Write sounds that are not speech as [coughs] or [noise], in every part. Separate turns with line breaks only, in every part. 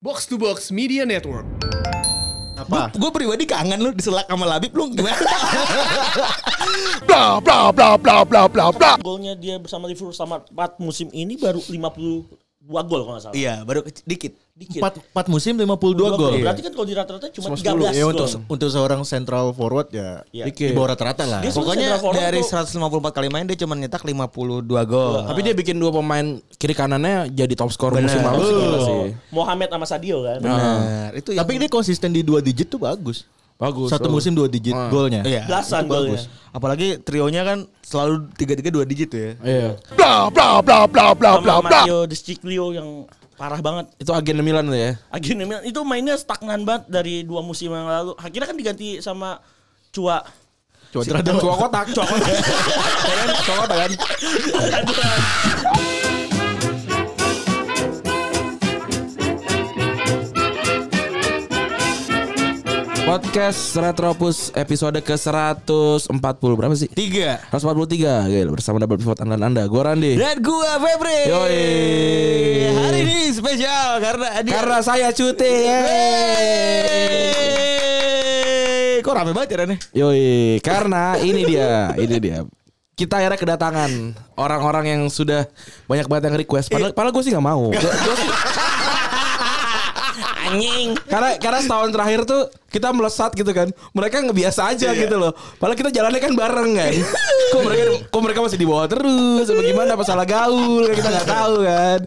Box to Box Media Network.
Apa?
Gue pribadi kangen lu diselak sama Labib lu gimana?
bla bla bla bla bla bla bla
golnya dia bersama Liverpool sama 4 musim ini baru 52 gol kalau nggak salah.
[laughs] iya, baru kecil- dikit.
Dikit.
Empat, empat musim 52 gol.
Berarti kan kalau di rata-rata cuma
Cuma
13
10.
iya,
Ya,
gol.
untuk untuk seorang central forward ya,
Iya.
di bawah rata-rata lah.
Dia-
Pokoknya
Sebenarnya Draforno
dari
tuh-
154 kali main dia cuma nyetak 52 gol.
Tapi dia bikin dua pemain kiri kanannya jadi top skor
Bener.
musim lalu sih, gila sih.
Iya. Mohamed sama Sadio kan.
Benar. Itu yang-
Tapi dia konsisten di dua digit tuh bagus.
Bagus.
Satu
bagus.
musim dua digit
Ah.
golnya.
Iya.
Belasan golnya.
Apalagi trionya kan selalu 3-3 2 digit tuh ya.
Iya.
bla bla
Ah,
bla bla bla bla
Sama
bla
Matteo Desciclio yang parah banget.
Itu agen Milan tuh ya.
Agen Milan itu mainnya stagnan banget dari dua musim yang lalu. Akhirnya kan diganti sama Cua.
Coba Coba kotak. Coba kotak. Coba kotak kan. [laughs] Podcast Retropus episode ke-140 berapa sih?
Tiga.
143 Gila bersama double pivot andalan Anda Gue Randi
Dan gua Febri.
Yoi.
Hari ini spesial karena dia-
Karena saya cuti yeay.
Yeay. Kok rame banget ya Ren?
Yoi Karena ini dia Ini dia kita akhirnya kedatangan orang-orang yang sudah banyak banget yang request.
Iya.
Padahal, padahal gue sih nggak
[laughs]
mau. Gua- gua sih-
[laughs] Anjing.
karena karena setahun terakhir tuh kita melesat gitu kan. Mereka ngebiasa aja gitu loh. Padahal kita jalannya kan bareng kan. kok mereka kok mereka masih di bawah terus? Apa gimana? Apa salah gaul? Kan Kita nggak tahu kan.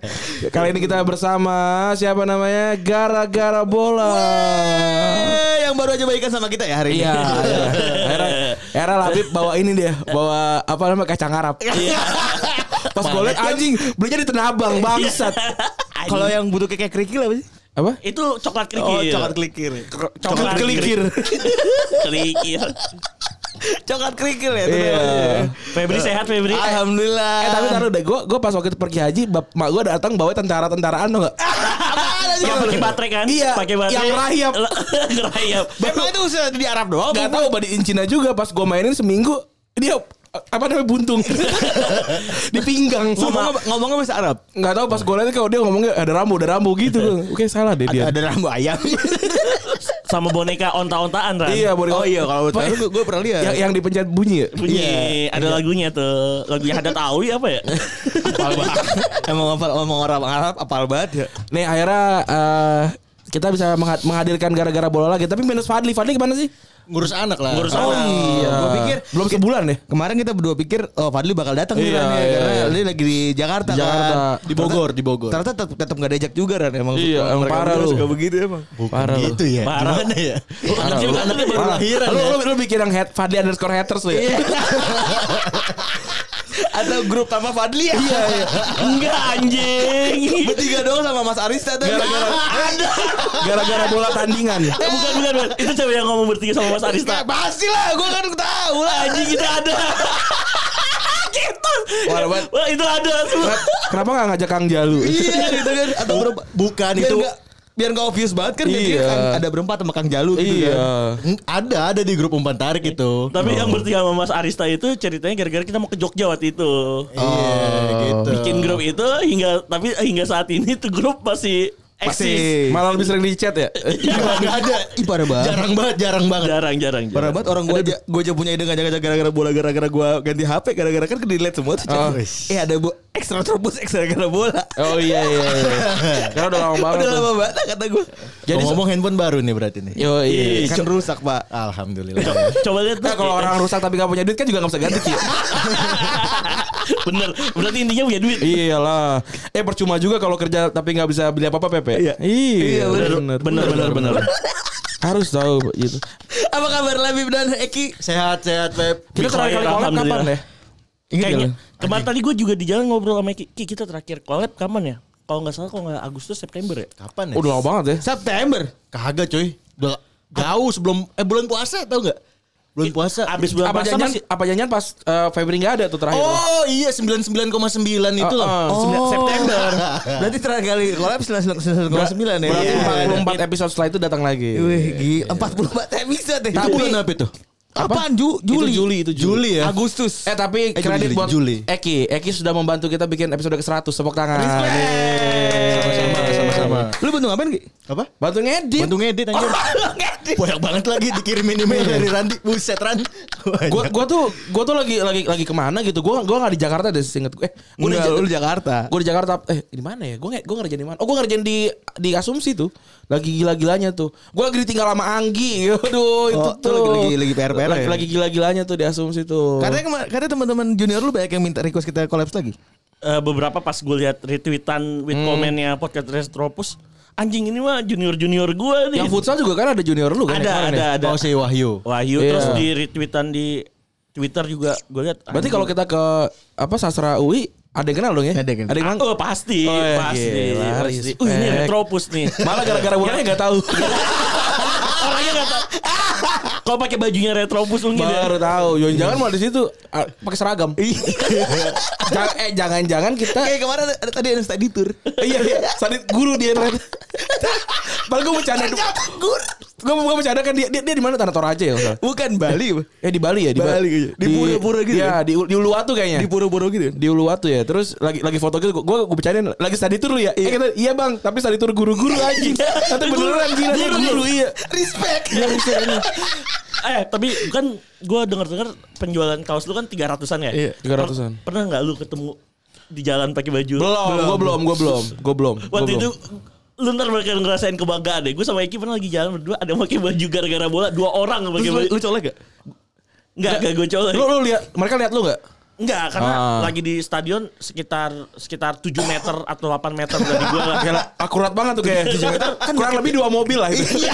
Kali ini kita bersama siapa namanya? Gara-gara bola.
Eh, yang baru aja baikan sama kita ya hari ini.
Iya, iya.
[laughs]
Era, era Labib bawa ini dia, bawa apa namanya kacang Arab. Pas gue liat anjing belinya di Tenabang bangsat.
Kalau yang butuh kayak kerikil apa sih?
Apa?
Itu coklat kerikil.
Oh, coklat kelikir.
Coklat
Kelikir.
kerikil.
Coklat kerikil ya itu
Iya.
namanya.
Febri sehat Febri.
Alhamdulillah.
Eh tapi taruh deh, gue gue pas waktu itu pergi haji, bap, mak gue datang bawa tentara-tentaraan
[laughs]
dong gak?
Yang pakai baterai kan?
Iya,
Pakai baterai.
yang
[laughs]
rahayap.
Ngerayap.
Emang itu usah di Arab doang?
Gak tau badiin Cina juga pas gue mainin seminggu dia apa namanya
[laughs]
buntung di pinggang
Ngomong ngomongnya bahasa Arab.
nggak tahu pas gue lihat kalau dia ngomongnya ada rambu ada rambu gitu oke salah deh dia
Ada rambu ayam.
Sama boneka onta-ontaan kan?
iya boleh
oh iya kalau
Apa-
tahu gue pernah lihat.
yang, yang dipencet bunyi ya?
Bunyi ada lagunya tuh. Lagunya ada tahu apa ya?
Apal banget. Emang apal ngomong orang Arab apal banget ya.
Nih akhirnya eh, kita bisa mengha- menghadirkan gara-gara bola lagi. Tapi minus Fadli. Fadli gimana sih?
Ngurus anak lah.
Ngurus anak.
Oh, iya.
Gue Nah, pikir
belum sebulan ya? deh.
kemarin kita berdua pikir oh Fadli bakal datang nih
Iya,
Ran, ya,
iya,
karena
iya.
dia lagi di Jakarta
Di Jakarta.
kan.
Di Bogor, di Bogor.
Ternyata tetap tetap gak diajak juga kan emang.
Iya,
Mereka
emang
berdua
parah lu.
Suka begitu emang.
Parah lu.
gitu ya.
Parah.
Gimana ya?
Anak
Parah,
anaknya baru
Parah.
lahiran.
Lu,
ya?
lu, lu bikin yang head, Fadli underscore haters lu
Iya.
ya?
Atau grup sama Fadli ya? Iya, iya.
Enggak anjing.
[laughs] Bertiga doang sama Mas [laughs] Arista tuh.
Gara-gara gara-gara bola tandingan. ya?
Eh, bukan, bukan, bukan. Itu cewek yang ngomong bertiga sama Mas Arista.
Pasti lah, gue kan tahu lah.
Anjing itu ada. gitu.
Parah banget.
Wah, itu ada semua.
Kenapa gak ngajak Kang Jalu?
Iya gitu kan atau berempat. Bukan
Biar
itu.
nggak-
biar gak obvious banget kan
Iya.
biasanya kan ada berempat sama Kang Jalu gitu
Iya.
kan. Hmm, Ada ada di grup umpan tarik itu.
Tapi
Oh.
yang
Oh.
bertiga sama Mas Arista itu ceritanya gara-gara kita mau ke Jogja waktu itu.
Oh.
Iya gitu.
Bikin grup itu hingga tapi hingga saat ini tuh grup masih eksis.
Masih. Malah lebih sering di chat ya?
Enggak ada. Ih parah banget. Jarang banget, jarang banget.
Jarang-jarang.
Parah banget orang gue aja gue aja punya ide ngajak-ngajak gara-gara bola gara-gara gue ganti HP gara-gara kan ke delete semua tuh.
Oh.
Eh ada bu ekstra terbus ekstra gara bola.
Oh iya iya iya. Karena udah lama banget.
Udah
tuh.
lama banget lah kata gue.
Jadi
ngomong handphone baru nih berarti nih.
Yo iya.
Kan rusak pak. Alhamdulillah.
Co- Coba lihat tuh.
Nah, kalau orang rusak tapi gak punya duit kan juga gak bisa ganti Ki.
[laughs] Bener. Berarti intinya punya duit.
Iya. Iyalah. Eh percuma juga kalau kerja tapi nggak bisa beli apa-apa Pepe.
Iya.
Iya,
bener,
bener.
bener, bener, bener.
Harus tahu gitu.
[laughs] Apa kabar Labib dan Eki? Sehat sehat Pep.
Kita
Bisa,
terakhir kali collab
alhamdulillah.
kapan ya? Ingat
Kayaknya
nggak lu?
kemarin tadi gue juga di jalan ngobrol sama Ki, Ki, kita terakhir collab kapan ya? Kalau nggak salah kalau nggak Agustus September ya.
Kapan
Udah lama banget ya.
September. Kagak cuy. Udah jauh sebelum eh bulan puasa tau nggak? Bulan puasa. Iya.
Abis bulan
Apa
puasa
jangan
masih
apa jangan pas eh, Febri nggak ada tuh terakhir.
Oh iya 99,9 itu loh.
Ah, ah,
Oh.
September.
Berarti terakhir kali collab 99,9 ya.
Berarti
Iya.
44 episode setelah itu datang lagi.
Wih, gila. 44 episode deh.
Tapi-
apa itu? Apaan? Ju Juli.
Itu Juli, itu Juli.
ya? Agustus.
Eh tapi
Eh, Juli,
kredit
Juli,
buat
Juli.
Eki. Eki sudah membantu kita bikin episode ke-100. Tepuk tangan. Iya.
Respect.
Yeay.
iya, Sama-sama, sama-sama.
sama.
Lu bantu ngapain Ki?
Apa?
Bantu ngedit.
Bantu
[laughs]
ngedit anjir. Banyak banget lagi dikirimin email dari Randi. Buset Ran.
Gua gua tuh gua tuh lagi lagi lagi kemana gitu. Gua gua nggak di Jakarta deh seinget gue. Eh, gua
Enggak,
di,
lu di Jakarta.
Gua di Jakarta. Eh, di mana ya? Gua nge- gua ngerjain di mana? Oh, gua ngerjain di di Asumsi tuh. Lagi gila-gilanya tuh. Gua lagi ditinggal sama Anggi. [laughs] Aduh, itu
Oh,
tuh.
lu lagi- lagi- lagi PR-PR
Lagi,
ya?
lagi gila-gilanya tuh di Asumsi tuh.
Katanya kema- katanya teman-teman junior lu banyak yang minta request kita collabs lagi.
Eh, beberapa pas gue lihat retweetan with
Hmm.
komennya podcast Retropus, anjing ini mah junior-junior gue nih.
yang futsal juga kan ada junior lu kan?
ada,
yang kemarin
ada,
ya?
ada.
Mau si Wahyu.
Wahyu
Iya.
terus di retweetan di Twitter juga gue lihat.
Berarti kalau kita ke apa Sastra UI ada yang kenal dong ya?
Ada yang kenal.
Ada yang
bilang
kenal.
oh pasti,
Oh, iya,
pasti.
gila,
pasti.
respect.
Uh, ini Retropus nih.
Malah gara-gara orangnya nggak
[laughs]
tahu.
Orangnya nggak tahu. Kalau pakai bajunya Retropus
Iya.
mungkin ya.
Baru tahu. Jangan jangan malah di situ ah, pakai seragam. [laughs] jangan eh jangan-jangan kita
Kayak Eh, kemarin ada, ada- tadi ada study tour.
iya iya sadit guru dia ternyata. Padahal gue bercanda. Gue gue bercanda kan dia dia, dia di mana Tanah Toraja ya? kalau nggak salah?
Bukan Bali.
Eh di Bali ya di
Bali kayaknya. Di pura-pura gitu
Ya, di, di Uluwatu kayaknya.
Di Boro-Boro gitu.
di Uluwatu ya terus lagi lagi foto gitu gue gue bercandain lagi study tour lu ya iya. kita, iya bang tapi study tour guru-guru
Iya.
aja nanti beneran gila dia
Guru.
guru iya
Respect.
Eh tapi kan gue dengar-dengar penjualan kaos lu kan 300-an ya?
Iya, 300-an.
Per- Pernah nggak lu ketemu di jalan pakai baju?
belum gue belum gue belum gue belum gua
Waktu
belum.
itu lu ntar bakal ngerasain kebanggaan deh. Gue sama Eki pernah lagi jalan berdua ada yang pakai baju gara-gara bola dua orang yang pakai
Terus
baju.
lu, lu colek gak?
Enggak, enggak gue colek.
lu lu lihat mereka lihat lu nggak
Enggak, karena
Ah.
lagi di stadion sekitar sekitar 7 meter atau 8 meter dari gue lah.
Gila, akurat banget tuh kayak
[laughs]
kan kurang lebih dua mobil lah
Iya.
itu.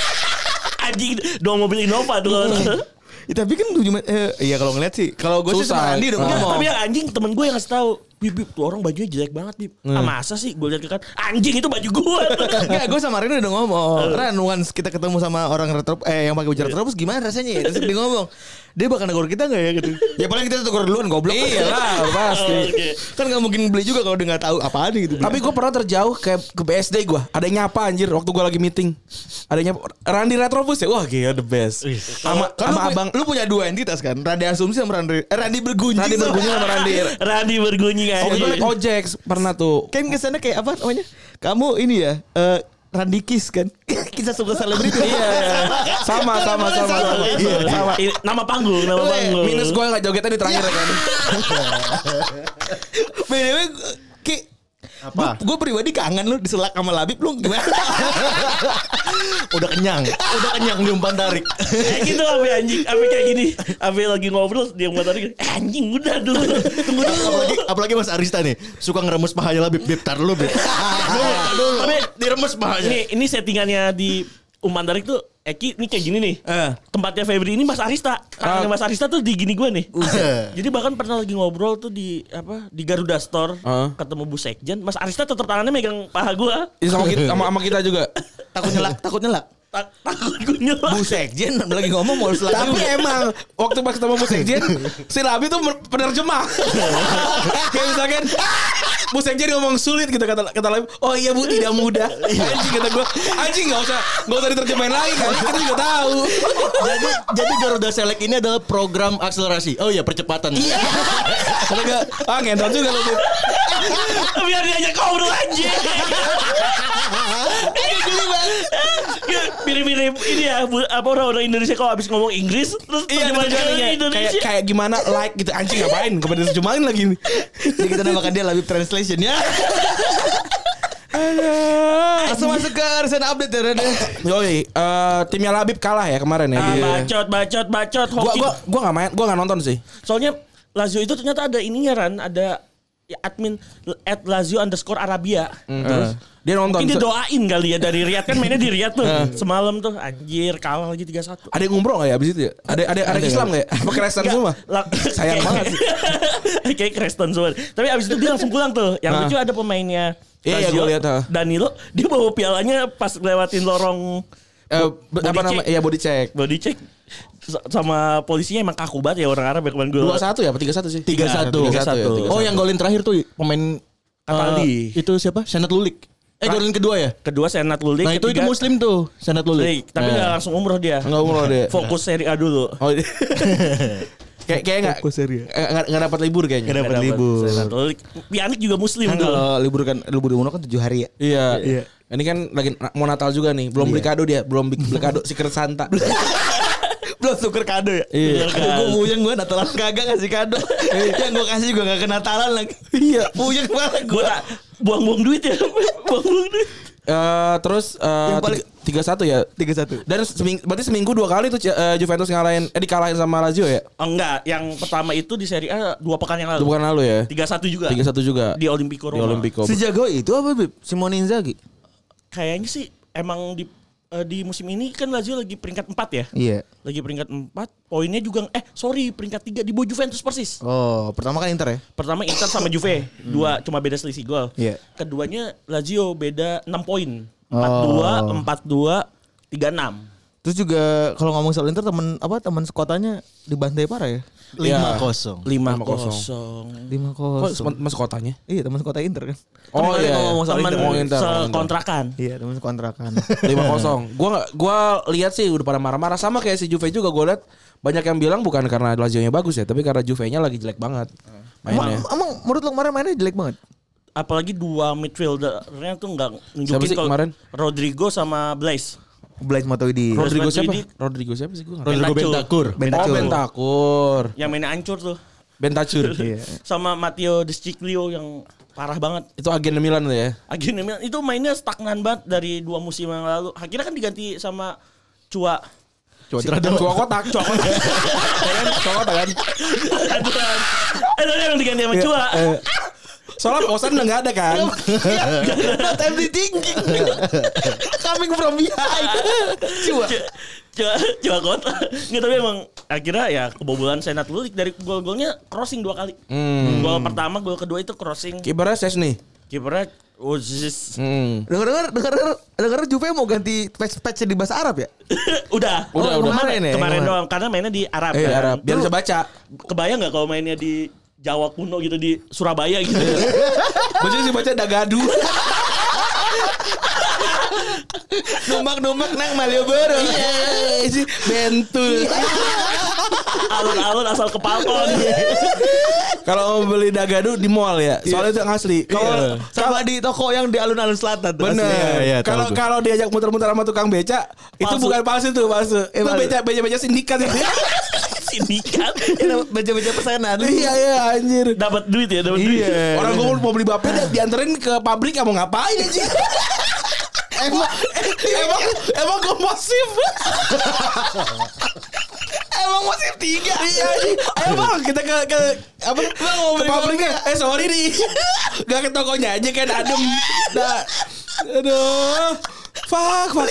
[laughs] Anjing, dua mobil Innova tuh.
Iya.
kalau-
Ya, tapi kan tujuh men- eh, iya kalau ngeliat sih. Kalau gue sih sama
Susah.
Andi udah
Ah.
Enggak,
ngomong.
tapi yang anjing temen gue yang ngasih tahu Bib, bib, tuh orang bajunya jelek banget, Bib. Ah,
Iya.
masa sih? Gue lihat ke kan, anjing itu baju
[laughs]
gue.
Enggak, gue sama Reno udah ngomong. Ran, once kita ketemu sama orang retro eh yang pakai baju retro terus gimana rasanya ya? Terus dia ngomong, dia bakal negor kita enggak ya gitu. ya paling kita tukar duluan goblok.
Iya lah, [laughs] pasti.
Oke.
kan nggak mungkin beli juga kalau dia nggak tahu apaan gitu.
Tapi gue pernah terjauh ke ke BSD gue. Ada yang nyapa anjir waktu gue lagi meeting. Ada yang nyapa Randy Retrobus ya. Wah, gila the best.
Iya.
Sama
kan lu,
sama
punya-
abang
lu punya dua entitas kan? Randi asumsi sama Randi. Eh, Randi bergunjing.
Randy
sama-
bergunjing sama Randy.
Randi bergunjing aja.
Oh, gue naik ojek pernah tuh.
[laughs] Kan kesannya kayak apa namanya? Kamu ini ya, eh Randi Kiss kan?
oh,
Kisah suka
[laughs]
selebriti.
Iya, iya. Sama sama sama. sama. Iya, sama.
Ini
Iya,
Nama panggung, nama
Weh,
panggung.
Minus gue gak jogetnya di terakhir ya
[laughs]
kan.
BDW Ki apa? Gue pribadi kangen lu diselak sama Labib lu gimana?
Udah kenyang. Udah kenyang di umpan tarik.
Kayak gitu Abe anjing. Abe kayak gini. Abe lagi ngobrol dia mau tarik. Eh, anjing udah dulu. Tunggu dulu.
Oh,
apalagi, apalagi Mas Arista nih suka ngeremes pahanya lah bib bib tar lu bib Tar dulu
Tapi-
diremes
oh, iya.
pahanya
Ini ini settingannya di Umpan Tarik tuh Eki ini kayak gini nih.
Eh.
Tempatnya Febri ini Mas Arista. Tangannya
Ah.
Mas Arista tuh di gini gue nih. [laughs] Jadi bahkan pernah lagi ngobrol tuh di apa di Garuda Store
Ah.
ketemu Bu Sekjen, Mas Arista tetap tangannya megang paha gue.
Ini sama kita sama, sama kita juga.
takut nyelak, takut nyelak.
Ta- Takut gue nyelak.
Bu Sekjen lagi ngomong mau diselak.
Tapi
juga.
emang waktu pas ketemu Bu Sekjen, si Labi tuh mer- penerjemah. Kayak misalkan Bu Sekjen ngomong sulit gitu kata kata Labi. Oh iya Bu tidak mudah. Anjing kata gue, anjing nggak usah nggak usah diterjemahin lagi kan kita juga tahu.
jadi jadi Garuda Select ini adalah program akselerasi oh iya percepatan
Kata gue, ah ngentot juga lu. Bu.
[laughs] Biar diajak ngobrol aja. Kayak Mirip-mirip ini ya bu- apa orang-orang Indonesia kalau habis ngomong Inggris terus
Iya
terjemahannya
terjemahannya kayak iya. kayak gimana like gitu anjing ngapain kemudian terjemahin lagi nih.
Jadi kita namakan dia Labib Translation ya.
Ah.
Langsung masuk ke resan update ya Ren.
Yoi, eh, timnya Labib kalah ya kemarin ya.
Ah,
di-
bacot, bacot, bacot.
Gua
Hoki.
gua gua nggak main, gua nggak nonton sih.
Soalnya Lazio itu ternyata ada ininya Ran, ada ya, admin at Lazio underscore Arabia.
Hmm.
Terus dia Hmm. nonton. Hmm.
Mungkin dia
Se-
doain kali ya dari Riyadh kan mainnya di Riyadh tuh. Semalam tuh anjir kalah lagi 3-1.
Ada yang ngumroh gak ya abis itu ya? Ada ada ada, Islam gak ya? Apa Kristen semua?
La-
[laughs] Sayang banget sih.
[laughs] Kayak Kristen semua. Tapi abis itu dia langsung pulang tuh. Yang
Ah.
lucu ada pemainnya
Iya, iya,
Lazio,
gua lihat, ah.
Danilo dia bawa pialanya pas lewatin lorong
Eh,
Bo-
apa
body
nama?
check.
Iya body check.
body check S- sama polisinya emang kaku banget ya orang Arab ya kemarin gue.
Dua satu ya? Tiga satu sih.
tiga satu
Tiga satu.
oh yang golin terakhir tuh pemain
Cataldi.
eh, itu siapa Senat Lulik eh golin kedua ya
Kedua Senat Lulik,
nah itu itu
ketiga-
Muslim tuh Senat Lulik
Tapi
Nah.
nggak langsung umroh dia.
Enggak umroh deh.
Fokus seri A dulu.
Oh, Kayak kayak nggak
Fokus area.
Eh, nggak- nggak- nnggak dapat libur kayaknya.
Nggak dapat libur.
Pianik juga muslim
Kan
tuh.
kalau libur kan libur di Uno kan 7 hari ya.
Iya.
Iya.
Ini kan lagi na- mau Natal juga nih. Belum beli kado dia, belum bi- beli kado Secret Santa.
Belum tuker kado ya.
Iya.
Aduh gue muyeng gue Natalan kagak ngasih kado. Yang gue kasih juga gak ke Natalan lagi. Iya. Muyeng banget
Gue
gue.
tak buang-buang duit ya. [laughs] Buang-buang duit.
Eh, terus eh
Yang paling-
tiga satu ya.
3-1.
Dan seming- berarti seminggu dua kali tuh eh, Juventus ngalahin eh dikalahin sama Lazio ya?
Oh, enggak, yang pertama itu di Serie A dua pekan yang lalu.
Itu bukan lalu ya?
3-1 juga.
Tiga satu juga.
Di Olimpico
Di
Roma.
Olimpico.
Sejago itu apa Bib? Simone Inzaghi.
Kayaknya sih emang di eh, di musim ini kan Lazio lagi peringkat 4 ya.
Iya.
Lagi peringkat 4, poinnya juga eh sorry peringkat 3 di bawah Juventus persis.
Oh, pertama kan Inter ya?
Pertama Inter
[coughs]
sama Juve, dua
Hmm.
cuma beda selisih gol.
Iya.
Keduanya Lazio beda 6 poin.
Oh.
4-2, 4-2, 3-6.
Terus juga kalau ngomong soal Inter teman apa teman sekotanya dibantai parah ya?
Iya.
lima kosong.
5-0.
5-0.
Mas kotanya?
Iya, teman sekota Inter kan. Kan
Oh
kemarin
iya.
kalau ngomong soal
Teman
Inter.
sekontrakan.
Iya, teman [laughs] sekontrakan.
lima kosong. Gua nggak- gua lihat sih udah pada marah-marah sama kayak si Juve juga gua lihat banyak yang bilang bukan karena Lazio-nya bagus ya, tapi karena Juve-nya lagi jelek banget
emang,
mainnya.
emang menurut lo kemarin mainnya jelek banget?
apalagi dua midfieldernya tuh nggak
Siapa
nunjukin
sih
kalau
kemarin?
Rodrigo sama Blaise.
Blaise Matuidi.
Ro-
Rodrigo siapa?
Matuidi.
Rodrigo siapa sih gua nggak
Rodrigo Bentakur.
Oh
Bentancur.
Bentakur.
Yang mainnya hancur tuh.
Bentacur.
Iya.
[laughs] Sama Matteo Desciclio yang parah banget.
Itu agen Milan tuh ya.
Agen Milan itu mainnya stagnan banget dari dua musim yang lalu. Akhirnya kan diganti sama
[laughs]
Cua.
Cua Cua kotak, cua kotak. Ya kan? Cua kotak kan.
Aduan. Eh, tadi yang diganti
Iya,
sama Cua.
Soalnya kosan udah nggak ada kan.
Not empty thinking. Coming from behind. Coba.
Cua- Cua, Cua kota. Nggak, tapi emang akhirnya ya kebobolan Senat Lulik dari gol-golnya crossing dua kali.
Hmm.
Gol pertama, gol kedua itu crossing.
Kipernya ses nih.
Kipernya Uzis. [laughs]
Hmm.
Dengar dengar dengar dengar Juve mau ganti patch patch di bahasa Arab ya?
udah, Oh,
Udah, udah.
Kemarin,
Kemarin ya?
kemarin
Kemarin.
doang karena mainnya di Arab.
Eh,
kan.
Arab. Biar
Lu
bisa baca.
kebayang nggak kalau mainnya di Jawa kuno gitu di Surabaya
[laughs]
gitu.
Baca sih baca dagadu.
Numak numak nang Malioboro.
Bentul.
Alun-alun asal kepalpon.
[laughs] Kalau mau beli dagadu di mall ya. Soalnya itu yang asli. Kalau
Sama di toko yang di alun-alun selatan tuh.
Iya,
Bener.
iya,
kalau
tahu gue.
kalau diajak muter-muter sama tukang beca, itu
Palsu.
bukan palsu tuh, palsu. itu
palsu.
beca beca beca sindikat ya.
Sindikat.
Baca-baca pesanan.
iya iya anjir.
Dapat duit ya, dapat duit.
Iya. Orang gue mau beli bape dia dianterin ke pabrik ya mau ngapain aja. emang [laughs] emang emang gue masif. [laughs] emang masif tiga. Iya anjing. Ayo bang kita ke ke apa? ke pabriknya. Eh sorry nih. [laughs] Gak ke tokonya aja kan adem. Nah. Aduh. Fuck, fuck.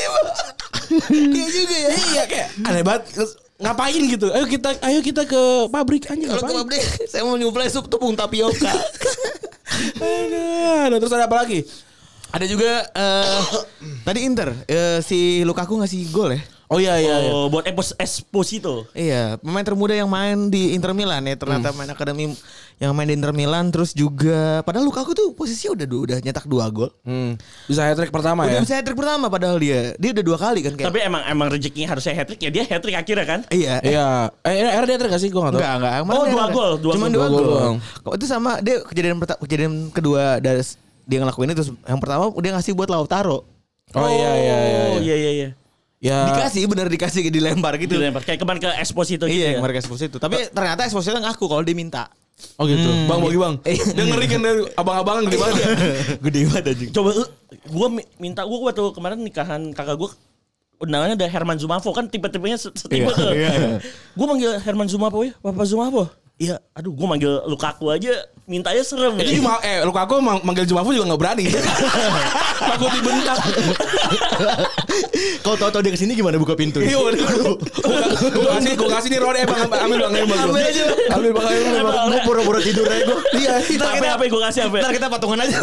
Iya juga ya. Iya kayak aneh banget. Terus, Ngapain gitu? Ayo kita ayo kita ke pabrik anjing
Kalau ke
ngapain?
pabrik, saya mau nyuplai sup tepung tapioka.
Aduh, aduh, Nah, terus ada apa lagi?
[laughs] Ada juga eh, tadi Inter eh, si Lukaku ngasih gol ya.
Oh iya iya. iya.
Oh, buat Espos Esposito.
Iya, pemain termuda yang main di Inter Milan ya ternyata main akademi yang main di Inter Milan terus juga padahal Lukaku tuh posisinya udah udah nyetak dua gol.
Hmm. Bisa hat trick pertama
Udah
ya.
bisa hat trick pertama padahal dia. Dia udah dua kali kan
Iya.
kayak.
Tapi emang emang rezekinya harusnya hat trick ya dia hat trick akhirnya kan.
iya. eh,
Iya. Eh era dia hat trick gak sih? Gua enggak tahu.
Enggak, enggak. Emang
Oh,
dia
dua
enggak.
gol, dua
Cuman
gol.
dua
Dua
gol.
gol doang.
Kok itu sama dia kejadian perta- kejadian kedua dari dia ngelakuin itu yang pertama dia ngasih buat Lautaro.
Oh, iya iya iya.
Oh,
iya.
iya iya iya.
Ya.
Dikasih bener dikasih dilempar gitu.
Dilempar kayak kemarin ke Esposito
Iya,
gitu. ya.
yang mereka ekspos itu. Tapi ternyata ekspos itu ngaku kalau dia minta.
Oh gitu. Bang bagi [laughs] Bang. Dengerin kan dari abang-abangan gede banget. [laughs] ya.
Gede banget anjing.
Coba gue minta gue waktu kemarin nikahan kakak gue undangannya ada Herman Zumafo kan tipe-tipenya se- setipe
Iya.
tuh. Gue manggil Herman Zumafo ya, Bapak Zumafo. Iya, aduh gue manggil Lukaku aja mintanya serem
Jadi
ya. [laughs]
ma- eh lu aku mang- manggil Jumafu juga gak [laughs] berani. Takut dibentak.
Kalau tahu-tahu dia kesini gimana buka pintu?
[laughs] Iya waduh. Gue kasih gue kasih nih Ron eh Bang ambil Bang ambil Bang.
Ambil aja.
Ambil Bang ambil Bang.
Gue
Iya.
pura-pura tidur aja
[laughs]
gue.
Iya.
Ntar apa apa gue kasih Iya. apa.
Ntar kita patungan aja.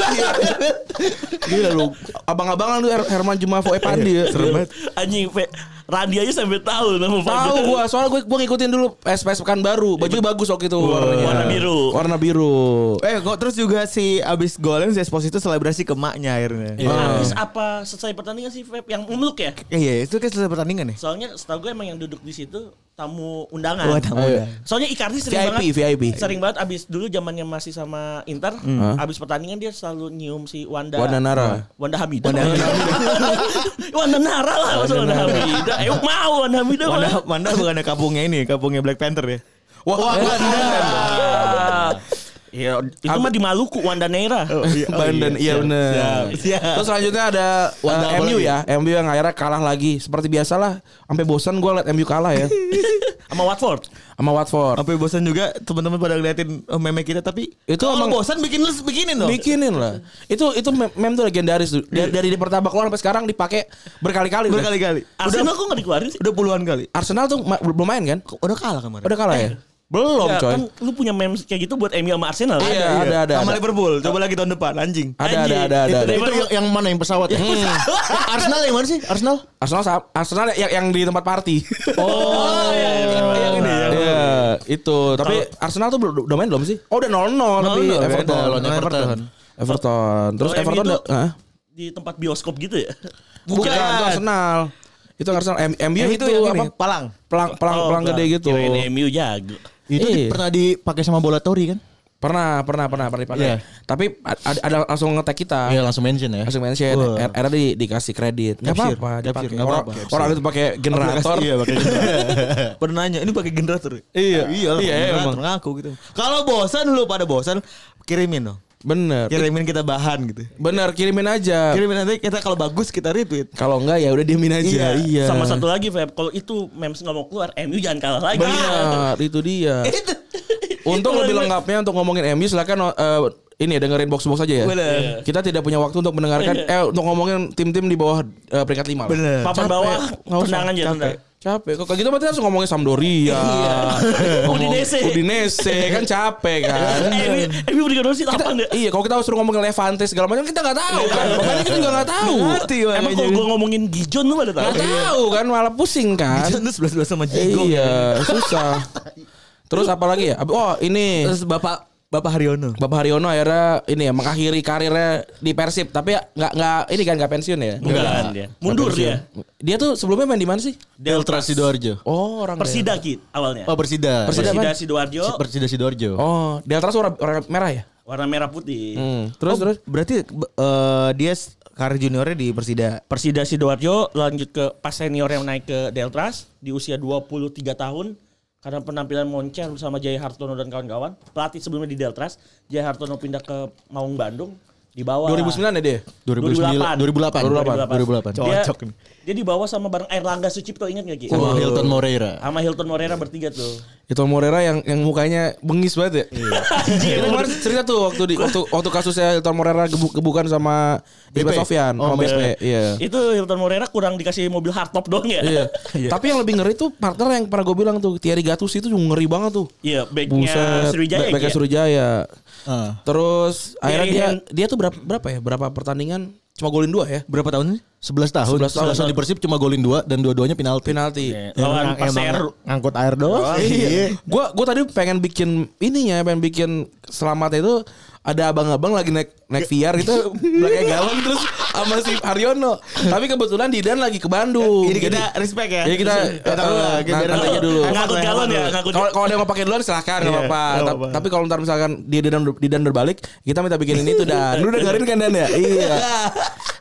Gila lu. Abang-abangan lu Her- Herman Jumafu eh Pandi ya. Serem banget.
Anjing, Fe, Randi aja sampai tahu nama
Tahu
Fajar.
gua, soalnya gua gua ngikutin dulu SPS pekan baru. Bajunya bagus waktu itu warnanya.
Warna biru.
Warna biru.
eh, kok terus juga si abis golnya si Espos itu selebrasi ke maknya akhirnya.
Nah, Habis apa selesai pertandingan sih Feb yang memeluk ya?
Eh, Iya, itu kan selesai pertandingan ya.
Soalnya setahu gue emang yang duduk di situ tamu undangan.
Wah, Oh, tamu undangan.
Soalnya Icardi sering
VIP,
banget
VIP.
sering banget abis dulu zamannya masih sama Inter, abis pertandingan dia selalu nyium si Wanda.
Hmm. Wanda Nara.
Wanda Hamida. Wanda, [laughs] Nara lah, maksud Wanda Hamida. Eh mau Wanda Hamida.
Manda,
mah.
Manda bukan ada kampungnya ini, kampungnya Black Panther ya. eh.
Wah,
Ya, itu mah di Maluku Wanda Nera.
[laughs] Bandan, iya bener.
[laughs]
Terus selanjutnya ada eh,
Wanda apa
MU
lagi?
ya, MU yang akhirnya kalah lagi. Seperti biasalah, sampai bosan gue liat MU kalah [laughs] ya,
Sama Watford.
sama Watford.
Sampai bosan juga teman-teman pada ngeliatin eh, meme kita tapi
Itu
Oh,
kalau
emang-
bosan bikin lu bikinin dong.
Bikinin lah. Itu itu mem, mem tuh legendaris tuh. Dari, dari pertama keluar sampai sekarang dipakai berkali-kali. tuh.
Berkali-kali.
Arsenal kok gak dikeluarin sih?
Udah puluhan kali.
Arsenal tuh ma- belum main kan?
Udah kalah kemarin.
Udah kalah ya? Belum
Ya,
coy.
kan lu punya memes kayak gitu buat MU sama Arsenal.
Iya, ada ada
Sama
ada.
Liverpool, coba lagi tahun depan anjing.
Ada ada
Anjing.
ada ada.
Itu,
ada.
itu yang, yang mana yang pesawat? ya? Eh, Arsenal yang mana sih? Arsenal?
Arsenal sa- Arsenal yang yang di tempat party. [laughs]
Oh, iya, iya, iya.
Iya, itu. Tapi Arsenal tuh belum udah main belum sih? Oh, udah 0-0 tapi
0-0,
Everton. Oh,
beda, lawan Everton.
Everton. Terus
Kalau MU
Everton
itu-
udah- Hah?
Di tempat bioskop gitu ya.
bukan itu Arsenal. Itu Arsenal M-
Iya,
MU itu, apa?
Palang.
Pelang pelang
Oh,
pelang gede gitu.
Kirain MU jago.
Itu
Iya.
di- pernah dipakai sama bola tori kan?
Pernah, pernah, pernah, pernah dipakai.
Iya.
Tapi ada, ada langsung ngetek
Ah.
kita.
Iya langsung mention ya.
langsung mention
Wah.
era di, dikasih kredit nggak
Capsir,
apa-apa
capsir,
dipakai
nggak
orang,
apa-apa.
orang itu pakai generator
Iya pakai
[laughs] Pada nanya, ini pakai generator. ya?"
Iya.
iya,
Iya,
iya
emang.
emang. Ngaku gitu. Kalau bosan lu pada bosan kirimin dong.
[laughs] bener
Kirimin kita bahan gitu.
bener kirimin aja
Kirimin nanti kita kalau bagus kita retweet.
kalau enggak ya udah diemin aja iya
Sama satu lagi, Feb. Kalau itu memes nggak mau keluar, MU jangan kalah lagi.
bener itu dia
Itu.
untuk
Itu
lebih
bener.
lengkapnya untuk ngomongin MU silakan eh, ini ya, dengerin box box aja ya
Bener.
kita tidak punya waktu untuk mendengarkan eh untuk ngomongin tim-tim di bawah eh, peringkat lima lah.
Bener.
Papan bawah, tendangan aja.
capek.
tendang.
Capek. Kok kayak gitu berarti langsung ngomongin Sampdoria. [laughs] Ngomong-
Udinese. Eh,
Udinese kan capek kan.
[laughs] MU MU berikan dosis
kita,
apa nggak?
iya kalau kita suruh ngomongin Levante segala macam kita nggak tahu kan makanya kita juga nggak tahu
Ngerti, Bang.
Emang kalau gue ngomongin Gijon lu pada
nggak
tahu?
tahu kan malah pusing kan
Itu sebelas sebelas sama gitu. Jigo.
iya susah terus apa lagi ya Ab- oh ini
Terus Bapak Bapak Haryono.
Bapak Haryono akhirnya ini ya mengakhiri karirnya di Persib tapi ya nggak nggak ini kan nggak pensiun ya
Bukan dia. Mundur dia.
dia tuh sebelumnya main di mana sih
Delta Sidoarjo.
oh orang
Persida Ki awalnya.
Oh Persida.
Persida
Persida
apaan?
Sidoarjo
Persida
Delta.
Sidoarjo.
oh Deltras warna, warna merah ya
warna merah putih. Oh,
terus terus
Berarti eh, dia s- karir juniornya di Persida.
Persida Sidoarjo lanjut ke pas senior yang naik ke Deltras di usia 23 tahun karena penampilan moncer bersama Jaya Hartono dan kawan-kawan. Pelatih sebelumnya di Deltras, Jaya Hartono pindah ke Maung Bandung di bawah
2009 ya dia
2008. 2008.
2008. 2008.
Cocok dia, dia dibawa sama bareng Erlangga Sucipto ingat gak Ki?
Sama Hilton Moreira.
Ah.
Sama Hilton Morera bertiga tuh.
itu Morera yang yang mukanya bengis banget ya [laughs]
Anjir. [laughs]
Kita kemarin cerita tuh waktu di waktu waktu kasusnya Hilton Morera gebuk gebukan sama Ibra Sofyan
Oh,
sama BSP. Iya.
Itu Hilton Morera kurang dikasih mobil hardtop dong ya.
Iya. Tapi yang lebih ngeri tuh partner yang pernah gue bilang tuh Thierry Gattuso itu juga ngeri banget tuh.
Iya, backnya
Buset.
Sriwijaya
back- backnya
Ki, ya?
Sriwijaya.
Ah.
Terus akhirnya dia
hand.
dia tuh berapa berapa ya? Berapa pertandingan cuma golin dua ya?
Berapa tahun sih?
11 tahun.
11 tahun.
11 tahun di Persib cuma golin 2 dan dua-duanya penalti.
Penalti.
Iya,
Ya,
Lawan
emang-
Perseru.
emang Ngangkut air doang. Iya.
Gua gua tadi pengen bikin ininya, pengen bikin selamat itu ada abang-abang lagi naik naik VR gitu, pakai galon terus sama si Aryono. Tapi kebetulan Didan lagi ke Bandung.
Jadi
Jadi-
kita respect ya.
Jadi kita
Ya, tahu lah, kita
nah,
biar-
nanti aja dulu.
Ngaku Iya. galon ya, ngaku
Kalau kalau ada yang mau pakai duluan silahkan nggak apa-apa.
nggak
Ta-
apa-apa.
Tapi kalau ntar misalkan dia dan di dan berbalik, kita minta bikinin itu dan lu dengerin kan dan ya? Iya.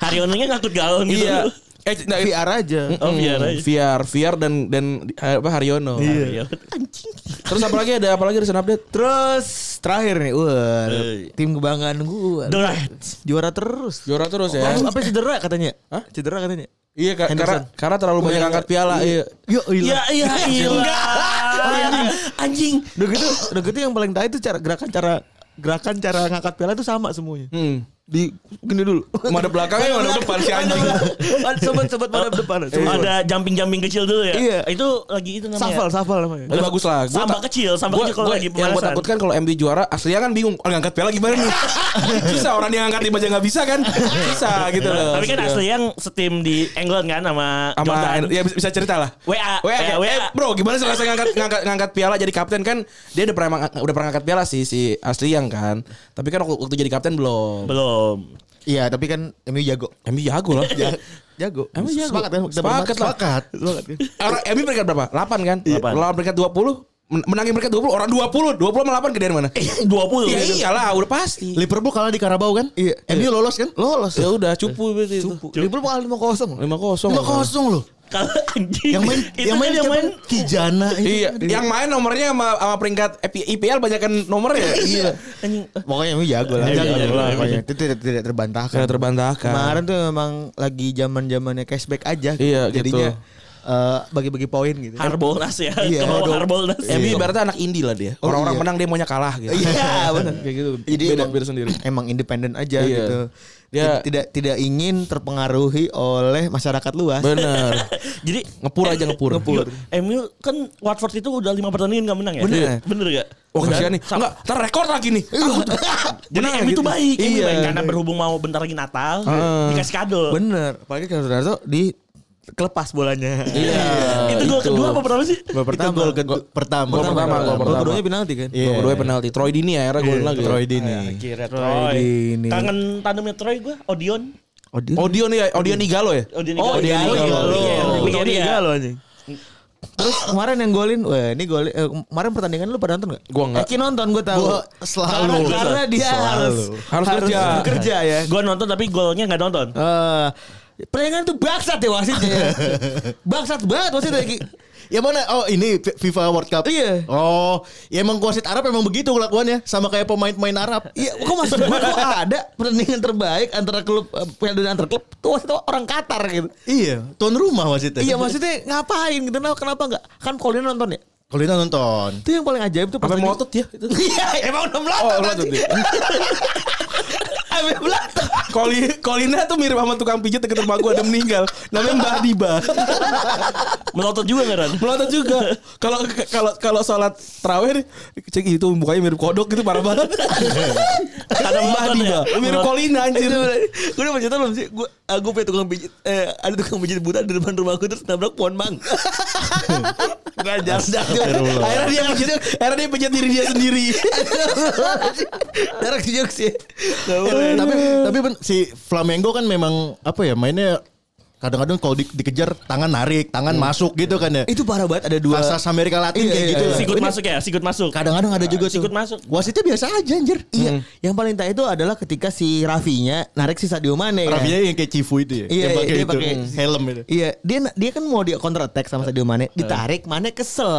Haryononya ngakut galon gitu.
Iya. Eh, nah, Hmm,
VR aja.
Oh, biar aja.
VR, VR dan dan eh, apa Haryono.
Iya. Anjing.
Terus apa lagi ada apa lagi recent update?
Terus terakhir nih, wah, tim kebanggaan gua.
The Reds.
Juara terus.
Juara terus ya.
Apa cedera katanya? Hah? Cedera katanya?
Iya ka- karena
Henderson.
karena terlalu banyak angkat piala. Iya.
Yuk,
Ya
iya.
ya enggak. Iya, Anjing.
Udah gitu, udah gitu yang paling tai itu cara gerakan cara gerakan cara ngangkat piala itu sama semuanya.
Hmm.
Di gini
[laughs]
dulu.
Mana belakangnya mana depan si anjing.
Sobat-sobat pada depan. sobat.
Ada jumping-jumping kecil dulu ya.
Iya.
Itu lagi itu namanya.
Safal, safal namanya.
Tapi bagus lah. Gua
Samba
tak-
kecil, samba
gua-
kecil kan kalau
gua-
lagi
Yang gue
pemanasan.
takutkan kalau MU juara, aslinya kan bingung. Orang ngangkat piala gimana
[laughs]
nih? Susah orang yang ngangkat tim aja nggak bisa kan? Susah gitu loh.
Tapi kan asli yang setim di England kan sama
sama
Jordan.
ya bisa, bisa cerita lah.
WA,
WA,
WA.
Eh, bro, gimana sih rasanya ngangkat, ngangkat ngangkat piala jadi kapten kan? Dia udah pernah mang- udah pernah ngangkat piala sih si asli yang kan. Tapi kan waktu, waktu jadi kapten belum.
Belum.
Iya, tapi kan MU
[laughs]
jago.
Ya,
MU jago loh.
jago.
Emang jago?
Sepakat kan? Kita
Sepakat lah.
Sepakat.
Sepakat kan?
Orang Emi peringkat berapa? 8 kan?
Delapan.
Lawan peringkat 20 men- menangin peringkat 20 orang 20 20 sama 8 gedean mana?
Eh, [laughs] 20
Ya
gitu.
iyalah udah pasti.
Liverpool kalah di Karabau kan?
Iya.
MU lolos kan?
Lolos.
Ya udah cupu berarti itu.
Liverpool kalah 5-0.
5-0.
5-0 loh.
Kalau anjing.
Yang main
itu
yang
kan
main
yang
siapa?
main
Kijana itu.
Iya, yang main nomornya sama, sama peringkat eh, EP IPL banyakkan nomornya. Iya.
anjing.
Pokoknya MU jago lah.
Iya,
Jago
jago
lah
lah,
pokoknya. Itu tidak tidak terbantahkan.
Karena terbantahkan.
Kemarin tuh emang lagi zaman-zamannya cashback aja.
Iya,
Jadinya
gitu.
eh, bagi-bagi poin gitu.
Harbolnas ya.
Iya.
Ke bawah Harbolnas.
Emi ibaratnya anak indie lah dia.
Oh,
Orang-orang
iya.
menang dia maunya kalah
[laughs]
gitu.
Iya, benar.
Kayak gitu.
Jadi
beda
emang-
beda sendiri.
Emang independen aja
Iya.
gitu.
Dia-
Tid- tidak tidak ingin terpengaruhi oleh masyarakat luas.
Bener.
Jadi
Ngepur aja ngepur.
Yo, MU kan Watford itu udah lima pertandingan gak menang ya?
Bener.
Iya. Bener gak?
Wah kasihan nih. Enggak, ntar rekor lagi nih. Takut.
Jadi MU
Benar,
itu
gitu.
baik, MU
Iya.
baik. Karena berhubung mau bentar lagi Natal,
Heeh.
dikasih kado.
Bener. Apalagi kalau Ronaldo di kelepas bolanya.
Iya.
itu gol kedua apa pertama sih?
Gol pertama. Gol kedu- pertama.
Gol pertama, gol
Gol
pertama.
keduanya penalti kan?
Gol kedua penalti. Troy Dini ya, era golin lagi. Ah, iya.
Troy Dini.
Kira
Troy
Troy.
Dini.
Tangan tandemnya Troy gue, Odion.
Odion.
Odion ya, Odion Igalo ya?
Odion
Oh, Odion
Igalo.
Igalo.
Iya,
Odion
Odion
Igalo,
Igalo,
anjing. Terus kemarin yang golin, wah ini golin. eh, kemarin pertandingan lu pada nonton gak?
Gua nggak.
Eki nonton, gue tahu.
Gua selalu.
Karena, karena dia
Selalu.
harus,
Harus kerja.
kerja ya.
Gue nonton tapi golnya gak nonton.
Eh, pertandingan tuh bangsat ya wasitnya.
[laughs]
ya. bangsat banget ya, wasitnya Eki.
Yang mana? Oh ini F- FIFA World Cup.
Iya.
Oh, ya emang wasit Arab emang begitu kelakuannya, sama kayak pemain-pemain Arab.
Iya, kok maksud gue kok ada pertandingan terbaik antara klub eh, Piala Dunia antar klub tuh wasit orang Qatar gitu.
Iya, tuan rumah wasitnya.
Iya maksudnya ngapain gitu? Nah, kenapa nggak? Kan kalau dia nonton ya.
Kalau kita nonton.
Itu yang paling ajaib tuh
Sampai
pertandingan-
melotot ya. [laughs]
Iya, emang udah
Oh,
melotot.
melotot
anjing.
dia.
iya. [laughs] Ambil belakang.
Koli, Kolina tuh mirip sama tukang pijit deket rumah gue ada meninggal. Namanya [laughs] Mbah Diba.
Melotot juga gak Ran?
Melotot juga. Kalau kalau kalau sholat terawih nih, cek itu mukanya mirip kodok gitu parah banget.
Eh,
[laughs]
Ada Mbah
melotot
Diba.
ya?
Mirip Kolina anjir.
Gue udah cerita belum sih? Gue aku punya tukang pijit. Eh, ada tukang pijit buta di depan rumah gue terus nabrak pohon mang. [laughs] Gak jas
Akhirnya dia pijit, akhirnya dia pijit diri dia sendiri.
Darah sih jokes ya. Nggak boleh.
Eh, tapi tapi ben, si Flamengo kan memang apa ya mainnya kadang-kadang kalau di- dikejar tangan narik, tangan masuk gitu kan ya.
Itu parah banget ada dua.
Kasas Amerika Latin
Iya,
kayak
iya,
gitu.
iya.
Sikut masuk ya, sikut masuk.
Kadang-kadang ada juga tuh.
Sikut masuk.
Wasitnya biasa aja anjir.
Iya, yang paling tak itu adalah ketika si Rafinya narik si Sadio Mane. kan?
Rafinya yang kayak Cifu itu ya.
Iya,
yang pakai
iya, dia
itu.
pakai-
helm itu.
Iya, dia dia kan mau dia counter attack sama Sadio Mane, ditarik Mane kesel.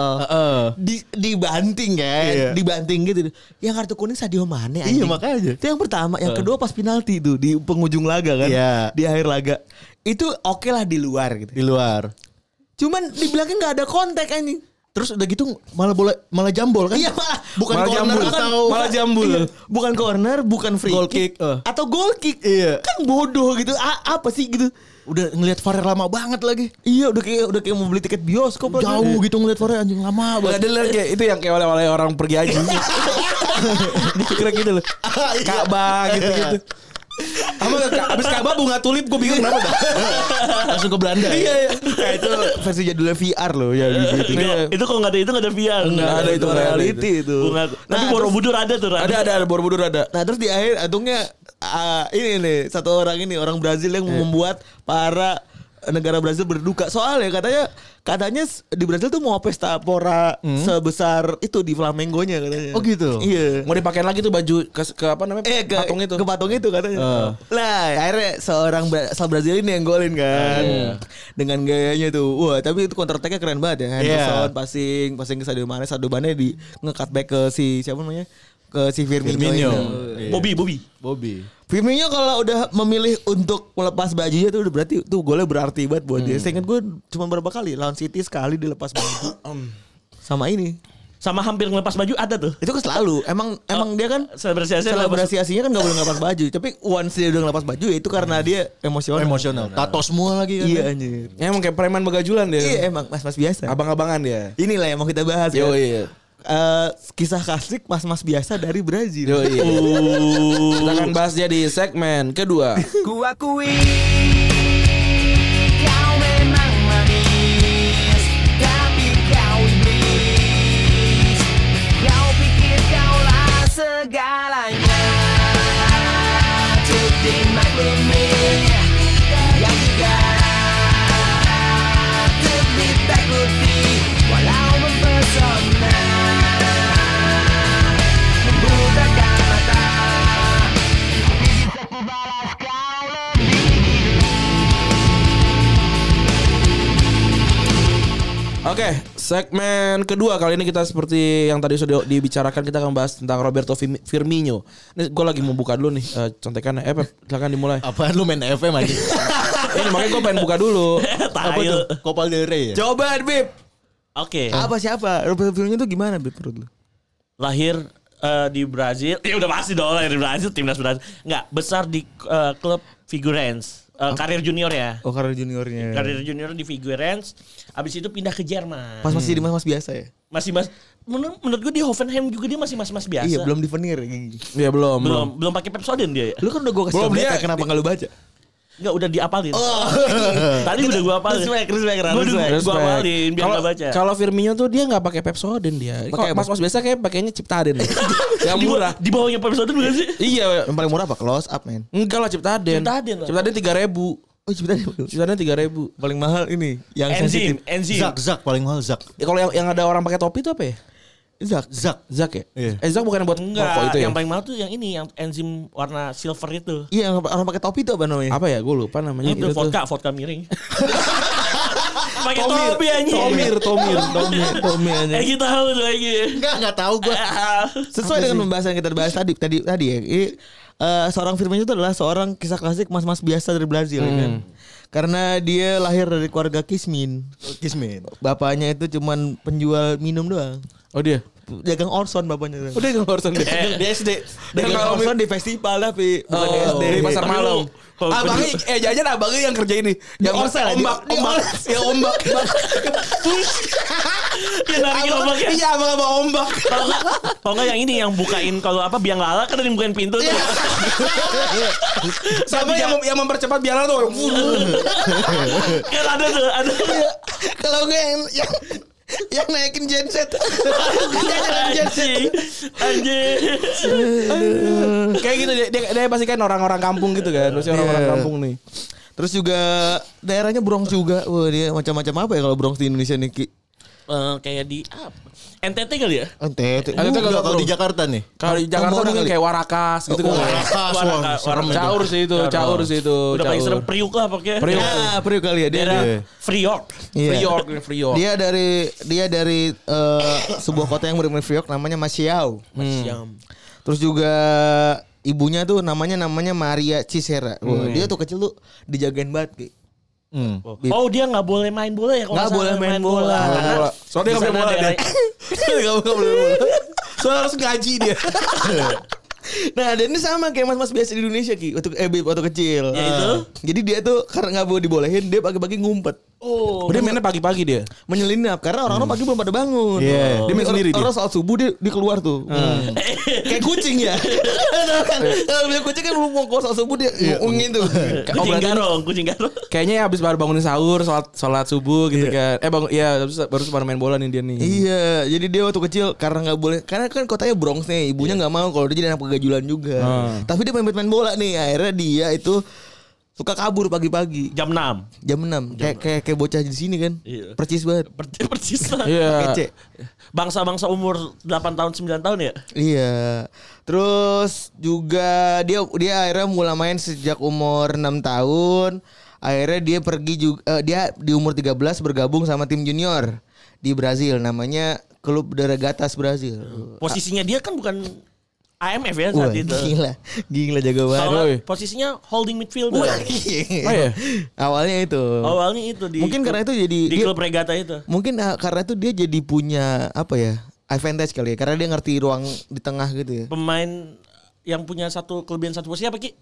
Di dibanting kan,
Iya.
dibanting gitu. Yang kartu kuning Sadio Mane
Iya, makanya.
Itu yang pertama, yang kedua pas penalti itu di penghujung laga kan.
Iya.
Di akhir laga. Itu oke lah di luar gitu.
Di luar.
Cuman di belakang nggak ada kontak anjing.
Terus udah gitu malah bola malah jambol kan?
Iya, malah-
bukan
malah
corner
jambul.
atau
Malah jambul.
Iya, bukan corner, bukan free
Goal
kick,
kick, eh.
atau goal kick.
Iya.
Kan bodoh gitu. A- apa sih gitu?
udah ngelihat VAR lama banget lagi.
Iya, udah kayak udah kayak mau beli tiket bioskop lagi. Iya kan?
Jauh gitu ngelihat VAR anjing
[laughs]
lama
Gak
banget.
ada lah kayak itu yang kayak oleh-oleh orang pergi aja. Dikira gitu
[laughs]
loh.
Ah, iya.
Ka'bah
Gitu,
gitu-gitu. Sama abis Ka'bah bunga tulip gue bingung kenapa dah.
Langsung ke Belanda.
Iya iya.
ya.
Nah, itu versi jadulnya VR loh ya gitu.
Itu, itu kalau gak ada itu gak ada VR.
Nggak ada itu, nggak ada
reality itu.
Bunga- Tapi Borobudur ada tuh Ran.
Ada ada ada Borobudur ada.
Nah terus di akhir untungnya ah, ini nih satu orang ini orang Brazil yang
Eh.
membuat para negara Brazil berduka soalnya katanya katanya s- di Brazil tuh mau pesta pora sebesar itu di Flamengonya katanya.
Hmm? Oh, gitu?
Iya.
Mau dipakai lagi tuh baju ke, ke apa namanya?
Eh ke
patung itu.
ke patung itu katanya.
Eh.
Lah akhirnya seorang Bra- asal Brazil ini yang golin kan.
Iya.
Dengan gayanya tuh. Wah, tapi itu counter attack-nya keren banget ya.
Iya.
Henderson passing, passing ke Sadio Mane, Sadio Mane di nge-cut back ke si siapa namanya? Ke si Firmino.
Firmino.
itu. Iya.
Bobby, Bobby.
Bobby.
Firmino kalau udah memilih untuk melepas bajunya tuh udah berarti tuh golnya berarti banget buat dia. Seingat gue cuma berapa kali lawan City sekali dilepas baju. Sama ini.
Sama hampir ngelepas baju ada tuh.
Itu kan selalu. Emang emang dia kan
Selebrasi Asia
selebrasi asinya kan gak boleh ngelepas baju tapi once dia udah ngelepas baju ya itu karena dia emosional
Emosional. Tato semua lagi kan.
iya anjir
Ya, emang kayak preman begajulan dia.
iya emang mas mas biasa
Abang-abangan dia.
inilah yang mau kita bahas kan.
Yo iya.
Eh, kisah klasik mas mas biasa dari Brazil
Yo iya.
Uh.
[laughs]
Kita akan bahas dia di segmen kedua.
Ku akui Kau memang manis Tapi kau iblis Kau pikir kaulah segalanya Cuti maklumi Yang tidak
Oke, segmen kedua kali ini kita seperti yang tadi sudah dibicarakan kita akan bahas tentang Roberto Fim- Firmino. Ini gue lagi mau buka dulu nih eh, contekannya. Eh, Pep, silakan dimulai.
Apaan lu main FM
[laughs]
aja?
Ini makanya gue pengen buka dulu.
Apa
Tahu.
tuh? Kopal del Rey ya?
Coba Bib.
Oke.
Apa siapa? Roberto Firmino tuh gimana Bib menurut lu?
lahir eh, di Brazil. Ya udah pasti dong lahir di Brazil, timnas Brazil. Enggak, besar di eh, klub Figueirense. Eh, karir junior ya.
Oh karena juniornya.
Karir junior di Figueirense. Abis itu pindah ke Jerman.
Pas masih di mas-mas biasa ya?
Masih mas menur- menurut gue di Hoffenheim juga dia masih mas-mas biasa.
Iya belum divenir gigi.
Ya belum, belum.
belum belum pakai Pepsodent dia ya.
Lu kan udah gue kasih
Belum,
tau
dia-
beta, kenapa gak lu [laughs] baca?
Enggak udah diapalin.
Oh.
Tadi udah gue apalin.
Respect, respect, Ran,
Gua-
respect.
Gua apalin biar
Kalau-
nggak baca.
Kalau Firmino tuh dia nggak pakai Pepsodent dia.
Pakai
Kalau
apa?
mas-mas biasa kayak pakainya Ciptaden. yang
Di-
murah.
Di bawahnya Pepsodent bukan sih?
Iya,
Yang paling murah apa? Close up man.
enggak lah Ciptaden.
Ciptaden lah.
Ciptaden 3000.
Oh cepetan.
Ciptaden 3000.
Paling mahal ini. Yang
Enzim,
sensitif.
enzim.
Zak, Zak paling mahal Zak.
Ya, kalau yang, yang ada orang pakai topi itu apa ya?
Zak.
Zak.
Zak ya?
Iya.
Eh Zak bukan yang buat rokok
Enggak,
itu ya?
yang paling mahal tuh yang ini yang enzim warna silver itu.
Iya yang orang pakai topi tuh apa namanya?
apa ya gue lupa namanya
Itu
itu tuh.
vodka, vodka
[laughs]
miring. Pakai topi anjing.
Tomir, Tomir, Tomir.
Tommy anjing.
Eh kita tahu tuh lagi.
Enggak, enggak tahu gua.
Sesuai dengan pembahasan yang kita bahas tadi tadi tadi ya. Ini, eh, seorang Firmino itu adalah seorang kisah klasik mas-mas biasa dari Brazil ya kan. Karena dia lahir dari keluarga Kismin.
Kismin.
Bapaknya itu cuman penjual minum doang.
Oh dia.
Dagang Orson bapaknya.
Udah enggak urusan dia.
Di SD.
Dagang
kalau-
Orson di festival tapi bukan di
Oh,
SD.
di pasar malam.
Perlu-
Abangnya eh jajan abangnya yang kerja ini. Yang
Orsel, di-
ombak,
di
ombak, ya ombak.
Iya lari ombak ya.
Iya, abang abang ombak.
Kalau nggak- kalau nggak yang ini yang bukain kalau apa biang lala kan ada yang bukain pintu
Iya.
tuh.
Sama yang yang mempercepat biar tuh.
[laughs] kan ada tuh, ada.
Kalau gue yang yang, yang naikin genset.
Iya,
Anjing. Anjing.
Kayak gitu dia, dia, dia pasti kan orang-orang kampung gitu kan. Pasti orang-orang kampung nih.
Terus juga daerahnya Bronx juga. Wah, dia macam-macam apa ya kalau Bronx di Indonesia nih Ki?
Eh, kayak di apa? NTT kali ya?
Ada tuh
Ente. Eh, Enggak
kalau
kalau di
Bro.
Jakarta nih.
Kalau di Jakarta
Tambora
mungkin
kali.
kayak Warakas gitu kan.
Warakas,
Warna-
wah,
warna-
serem itu.
Caur sih itu, caur sih itu.
Udah paling serem
caur.
Priuk lah pokoknya.
Priuk.
Ah, Priuk kali ya dia.
Daerah
Iya.
Priok.
Iya.
Free York, Free York.
Dia dari dia dari eh, sebuah kota yang benar-benar New York namanya Masiau.
Hmm.
Siam.
Terus juga ibunya tuh namanya namanya Maria Cicera. Wah,
Hmm.
dia tuh kecil tuh dijagain banget. Ki.
Hmm.
Iya,
Oh dia nggak boleh main bola ya? kalau
Nggak
nggak
boleh
salah
main bola.
Karena
bola. Soalnya
di
nggak boleh
sana [laughs]
bola dia.
daerah-
Nggak nggak boleh bola. Soalnya harus ngaji dia.
Nah, dan ini sama kayak mas-mas biasa di Indonesia Ki, waktu eh Bib, waktu kecil.
Ya, itu.
Jadi dia tuh karena nggak boleh dibolehin, dia pagi-pagi ngumpet,
Oh.
Dia mainnya pagi-pagi dia.
menyelinap karena orang-orang pagi belum pada bangun.
Iya.
Oh.
Hmm. Dia main sendiri dia.
orang,
Hmm.
orang soal subuh dia, dia keluar tuh. Hmm. kayak kucing ya. [laughs] Tau kan? Kalau punya kucing kan lu mau keluar soal subuh dia
Iya.
ngungin tuh.
Oh,
Kucing
berarti-
garong, kucing garong.
Kayaknya ya habis baru bangunin sahur, sholat, sholat subuh gitu kan. Eh bangun, iya terus baru baru main bola nih dia nih.
Iya, jadi dia waktu kecil karena nggak boleh, karena kan kotanya Bronx nih, ibunya
Iya.
nggak mau kalau dia jadi anak pegajulan juga.
Hmm.
Tapi dia main main bola nih, akhirnya dia itu suka kabur pagi-pagi
Jam 6.
jam 6 kayak kayak kayak bocah di sini kan,
Iya.
percis banget.
Persis, [laughs] persis lah.
Iya.
Kece.
Bangsa-bangsa umur 8 tahun 9 tahun ya?
Iya. Terus juga dia dia akhirnya mulai main sejak umur 6 tahun. Akhirnya dia pergi juga eh, dia di umur 13 bergabung sama tim junior di Brazil namanya Klub de Regatas Brazil.
Posisinya dia kan bukan AMF ya
Wah,
saat itu.
gila. Gila jago banget.
Kalau nggak,
Woi.
posisinya holding
[laughs]
midfielder.
Oh iya. Oh.
Awalnya itu.
Awalnya itu di
Mungkin karena itu jadi-
di
dia-
klub regata itu.
Mungkin ah, karena itu dia jadi punya apa ya? Advantage kali ya karena dia ngerti ruang di tengah gitu ya.
Pemain yang punya satu kelebihan satu posisi apa Ki?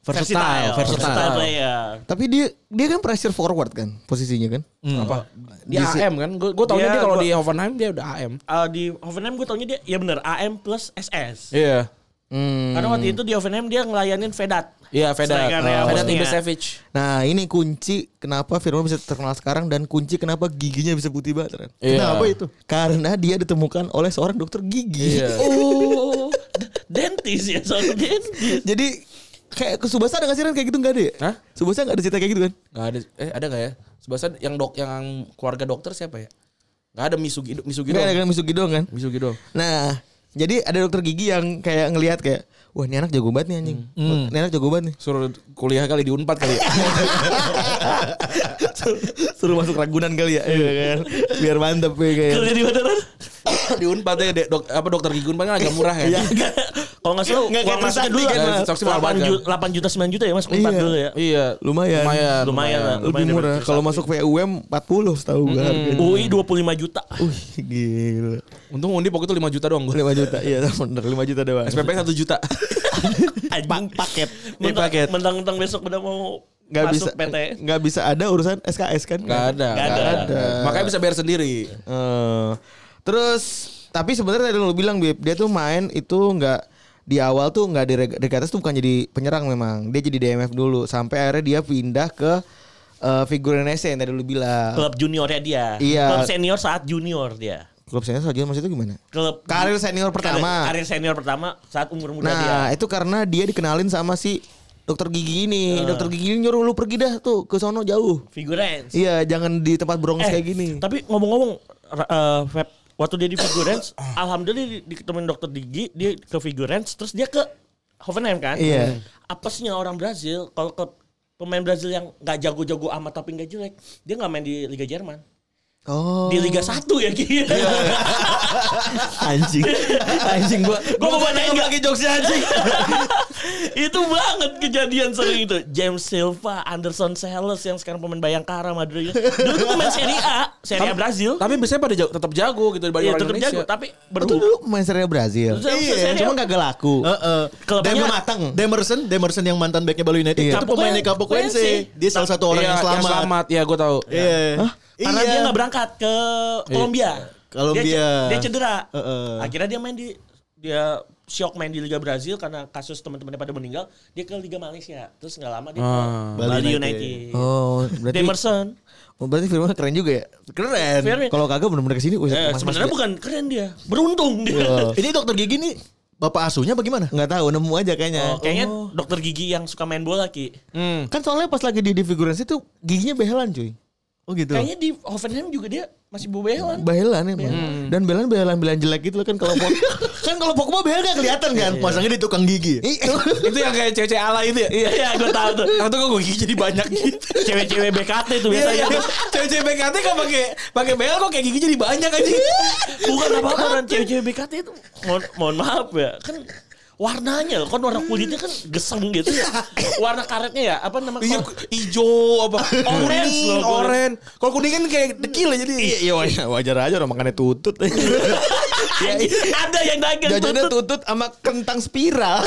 Versatile,
versatile
versatile.
player.
Tapi dia dia kan pressure forward kan posisinya kan.
Apa? Dia AM kan? Gue gue taunya
Dia-
dia kalau
gua-
di Hoffenheim dia udah AM.
Eh, di Hoffenheim gue taunya dia ya bener AM plus SS.
Iya.
Hmm.
Karena waktu itu di Hoffenheim dia ngelayanin Vedat.
Iya, Vedat.
Ah.
Strikernya
Oh. Vedat
Bosnia.
Ibisevic.
Nah ini kunci kenapa Firman bisa terkenal sekarang dan kunci kenapa giginya bisa putih banget. Ren.
Iya.
Kenapa itu? Karena dia ditemukan oleh seorang dokter [laughs] gigi.
Iya.
Oh, dentis ya soal dentis.
Jadi kayak ke Subasa ada nggak sih Ren kayak gitu nggak ada? Ya?
Hah?
Subasa nggak ada cerita kayak gitu kan?
Gak ada. Eh ada gak ya? Sebasan yang dok yang keluarga dokter siapa ya? Gak ada Misugi Misugi
Nggak ada
doang.
kan Misugi doang kan?
Misugi doang.
Nah Jadi ada dokter gigi yang kayak ngelihat kayak wah ini anak jago banget nih anjing. Wah, Ini anak jago banget nih.
Suruh kuliah kali di Unpad kali. ya.
Suruh- Suruh masuk Ragunan kali ya, iya kan? Biar mantep ya kayak.
Kerja di Veteran?
[coughs] di Unpad ya dek- dok, apa dokter gigi Unpad kan agak murah ya.
[laughs] Enggak. Kalau nggak salah
Nggak,
uang
kayak
masuknya dulu
Iya. Trisakti
eh,
kan,
lah.
Mas. Trisakti mahal
8
banget,
juta, 8 juta 9 juta ya Mas Unpad
Iya.
dulu ya.
Iya,
Lumayan.
lumayan.
Lumayan lah.
Lebih
lumayan
murah.
daripada
Kalau
Trisakti.
masuk PUM 40 setahu gue harganya.
UI 25
[laughs]
juta.
Wih, gila.
Untung Undi pokoknya tuh 5 juta doang gue.
5 juta. Iya, [laughs] bener 5 juta doang.
SPP 1 juta.
Anjing paket.
paket.
Mentang-mentang besok udah mau
Nggak bisa eh, Iya.
masuk E. PT.
nggak bisa ada urusan SKS kan?
Gak ada.
Nggak ada.
nggak Makanya bisa bayar sendiri.
Eh, terus tapi sebenarnya tadi lu bilang Bib, dia tuh main itu nggak di awal tuh nggak di Regatas tuh bukan jadi penyerang memang. Dia jadi DMF dulu sampai akhirnya dia pindah ke eh figur Indonesia yang tadi lu bilang. Klub,
Klub juniornya dia.
Iya.
Klub senior saat junior dia.
senior saja maksudnya gimana?
Klub
Karir senior pertama.
Karir senior pertama saat umur muda dia.
Nah, itu karena dia dikenalin sama si dokter gigi ini.
Eh.
Dokter gigi ini nyuruh lu pergi dah tuh ke sono jauh.
Figurance.
Iya, jangan di tempat Bronx
Eh.
kayak gini.
Tapi ngomong-ngomong ra- eh, Feb, waktu dia di Figurance, alhamdulillah dia diketemuin dokter Digi, dia ke Figurance terus dia ke Hoffenheim kan?
Iya.
Apesnya orang Brazil kalau ke pemain Brazil yang nggak jago-jago amat tapi nggak jelek, dia nggak main di Liga Jerman.
Oh.
Di Liga 1 ya [laughs] gitu.
anjing. anjing gua.
Gue mau bacain lagi jokesnya anjing. [laughs] itu banget kejadian sering itu. James Silva, Anderson Sales yang sekarang pemain Bayangkara Madrid. Dulu tuh pemain Serie A, Serie A Brazil.
Tapi biasanya pada jago, tetap jago gitu dibanding
Iya
orang
tetap
Indonesia.
jago tapi
Lu tuh
berhubung
dulu main seri Brazil.
Iya, seri A.
cuma kagak laku.
Heeh.
Klubnya-
Dan belum matang.
Demerson, Demerson yang mantan backnya Bali United
Iya.
itu pemainnya Kapok Wednesday.
Wednesday.
Dia salah satu orang
Iya,
yang selamat.
Ya gue tahu.
Iya.
karena
Iya.
dia nggak berangkat ke Kolombia.
Kolombia.
Dia, ce- dia cedera.
Heeh.
Akhirnya dia main di dia syok main di Liga Brazil karena kasus teman-temannya pada meninggal, dia ke Liga Malaysia. Terus nggak lama dia ke Bali,
Bali
United.
Ah. Oh, berarti
Demerson.
oh, berarti firman keren juga ya. Keren.
Firman.
Kalau kagak bener-bener kesini sini
Eh, sebenarnya bukan keren dia, beruntung dia.
Iya.
Ini dokter gigi nih bapak asuhnya bagaimana?
Enggak tahu nemu aja kayaknya.
Oh, kayaknya dokter gigi yang suka main bola ki.
Kan soalnya pas lagi di figurasi tuh giginya behelan cuy. Oh gitu.
Kayaknya di Hoffenheim juga dia masih bobelan. [laughs]
Behelan emang. Dan behelan behelan behelan jelek gitu loh kan kalau pok Hmm. [laughs] kan kalau Pokemon behel gak kelihatan kan.
Pasangnya di tukang gigi.
itu yang kayak cewek-cewek ala itu ya.
Iya, gue tahu tuh.
Atau kok gue jadi banyak gitu.
Iya. Cewek-cewek BKT tuh
Iya, iya.
biasanya.
Cewek-cewek BKT kan pakai pakai bel kok kayak gigi jadi banyak aja.
Bukan apa-apa kan cewek-cewek BKT itu mohon, mohon maaf ya kan warnanya kan warna kulitnya kan geseng gitu ya warna karetnya ya apa namanya
Iya,
Kalau-
hijau apa?
Orange
Kuning,
loh, gue.
orange. Kalau kuning kan kayak dekil ya jadi.
[laughs] Iya, iya wajar, wajar aja orang makannya tutut.
Oh, iya, ada yang dagang
[laughs] Jajannya
tuh
tutut sama kentang spiral.
[laughs]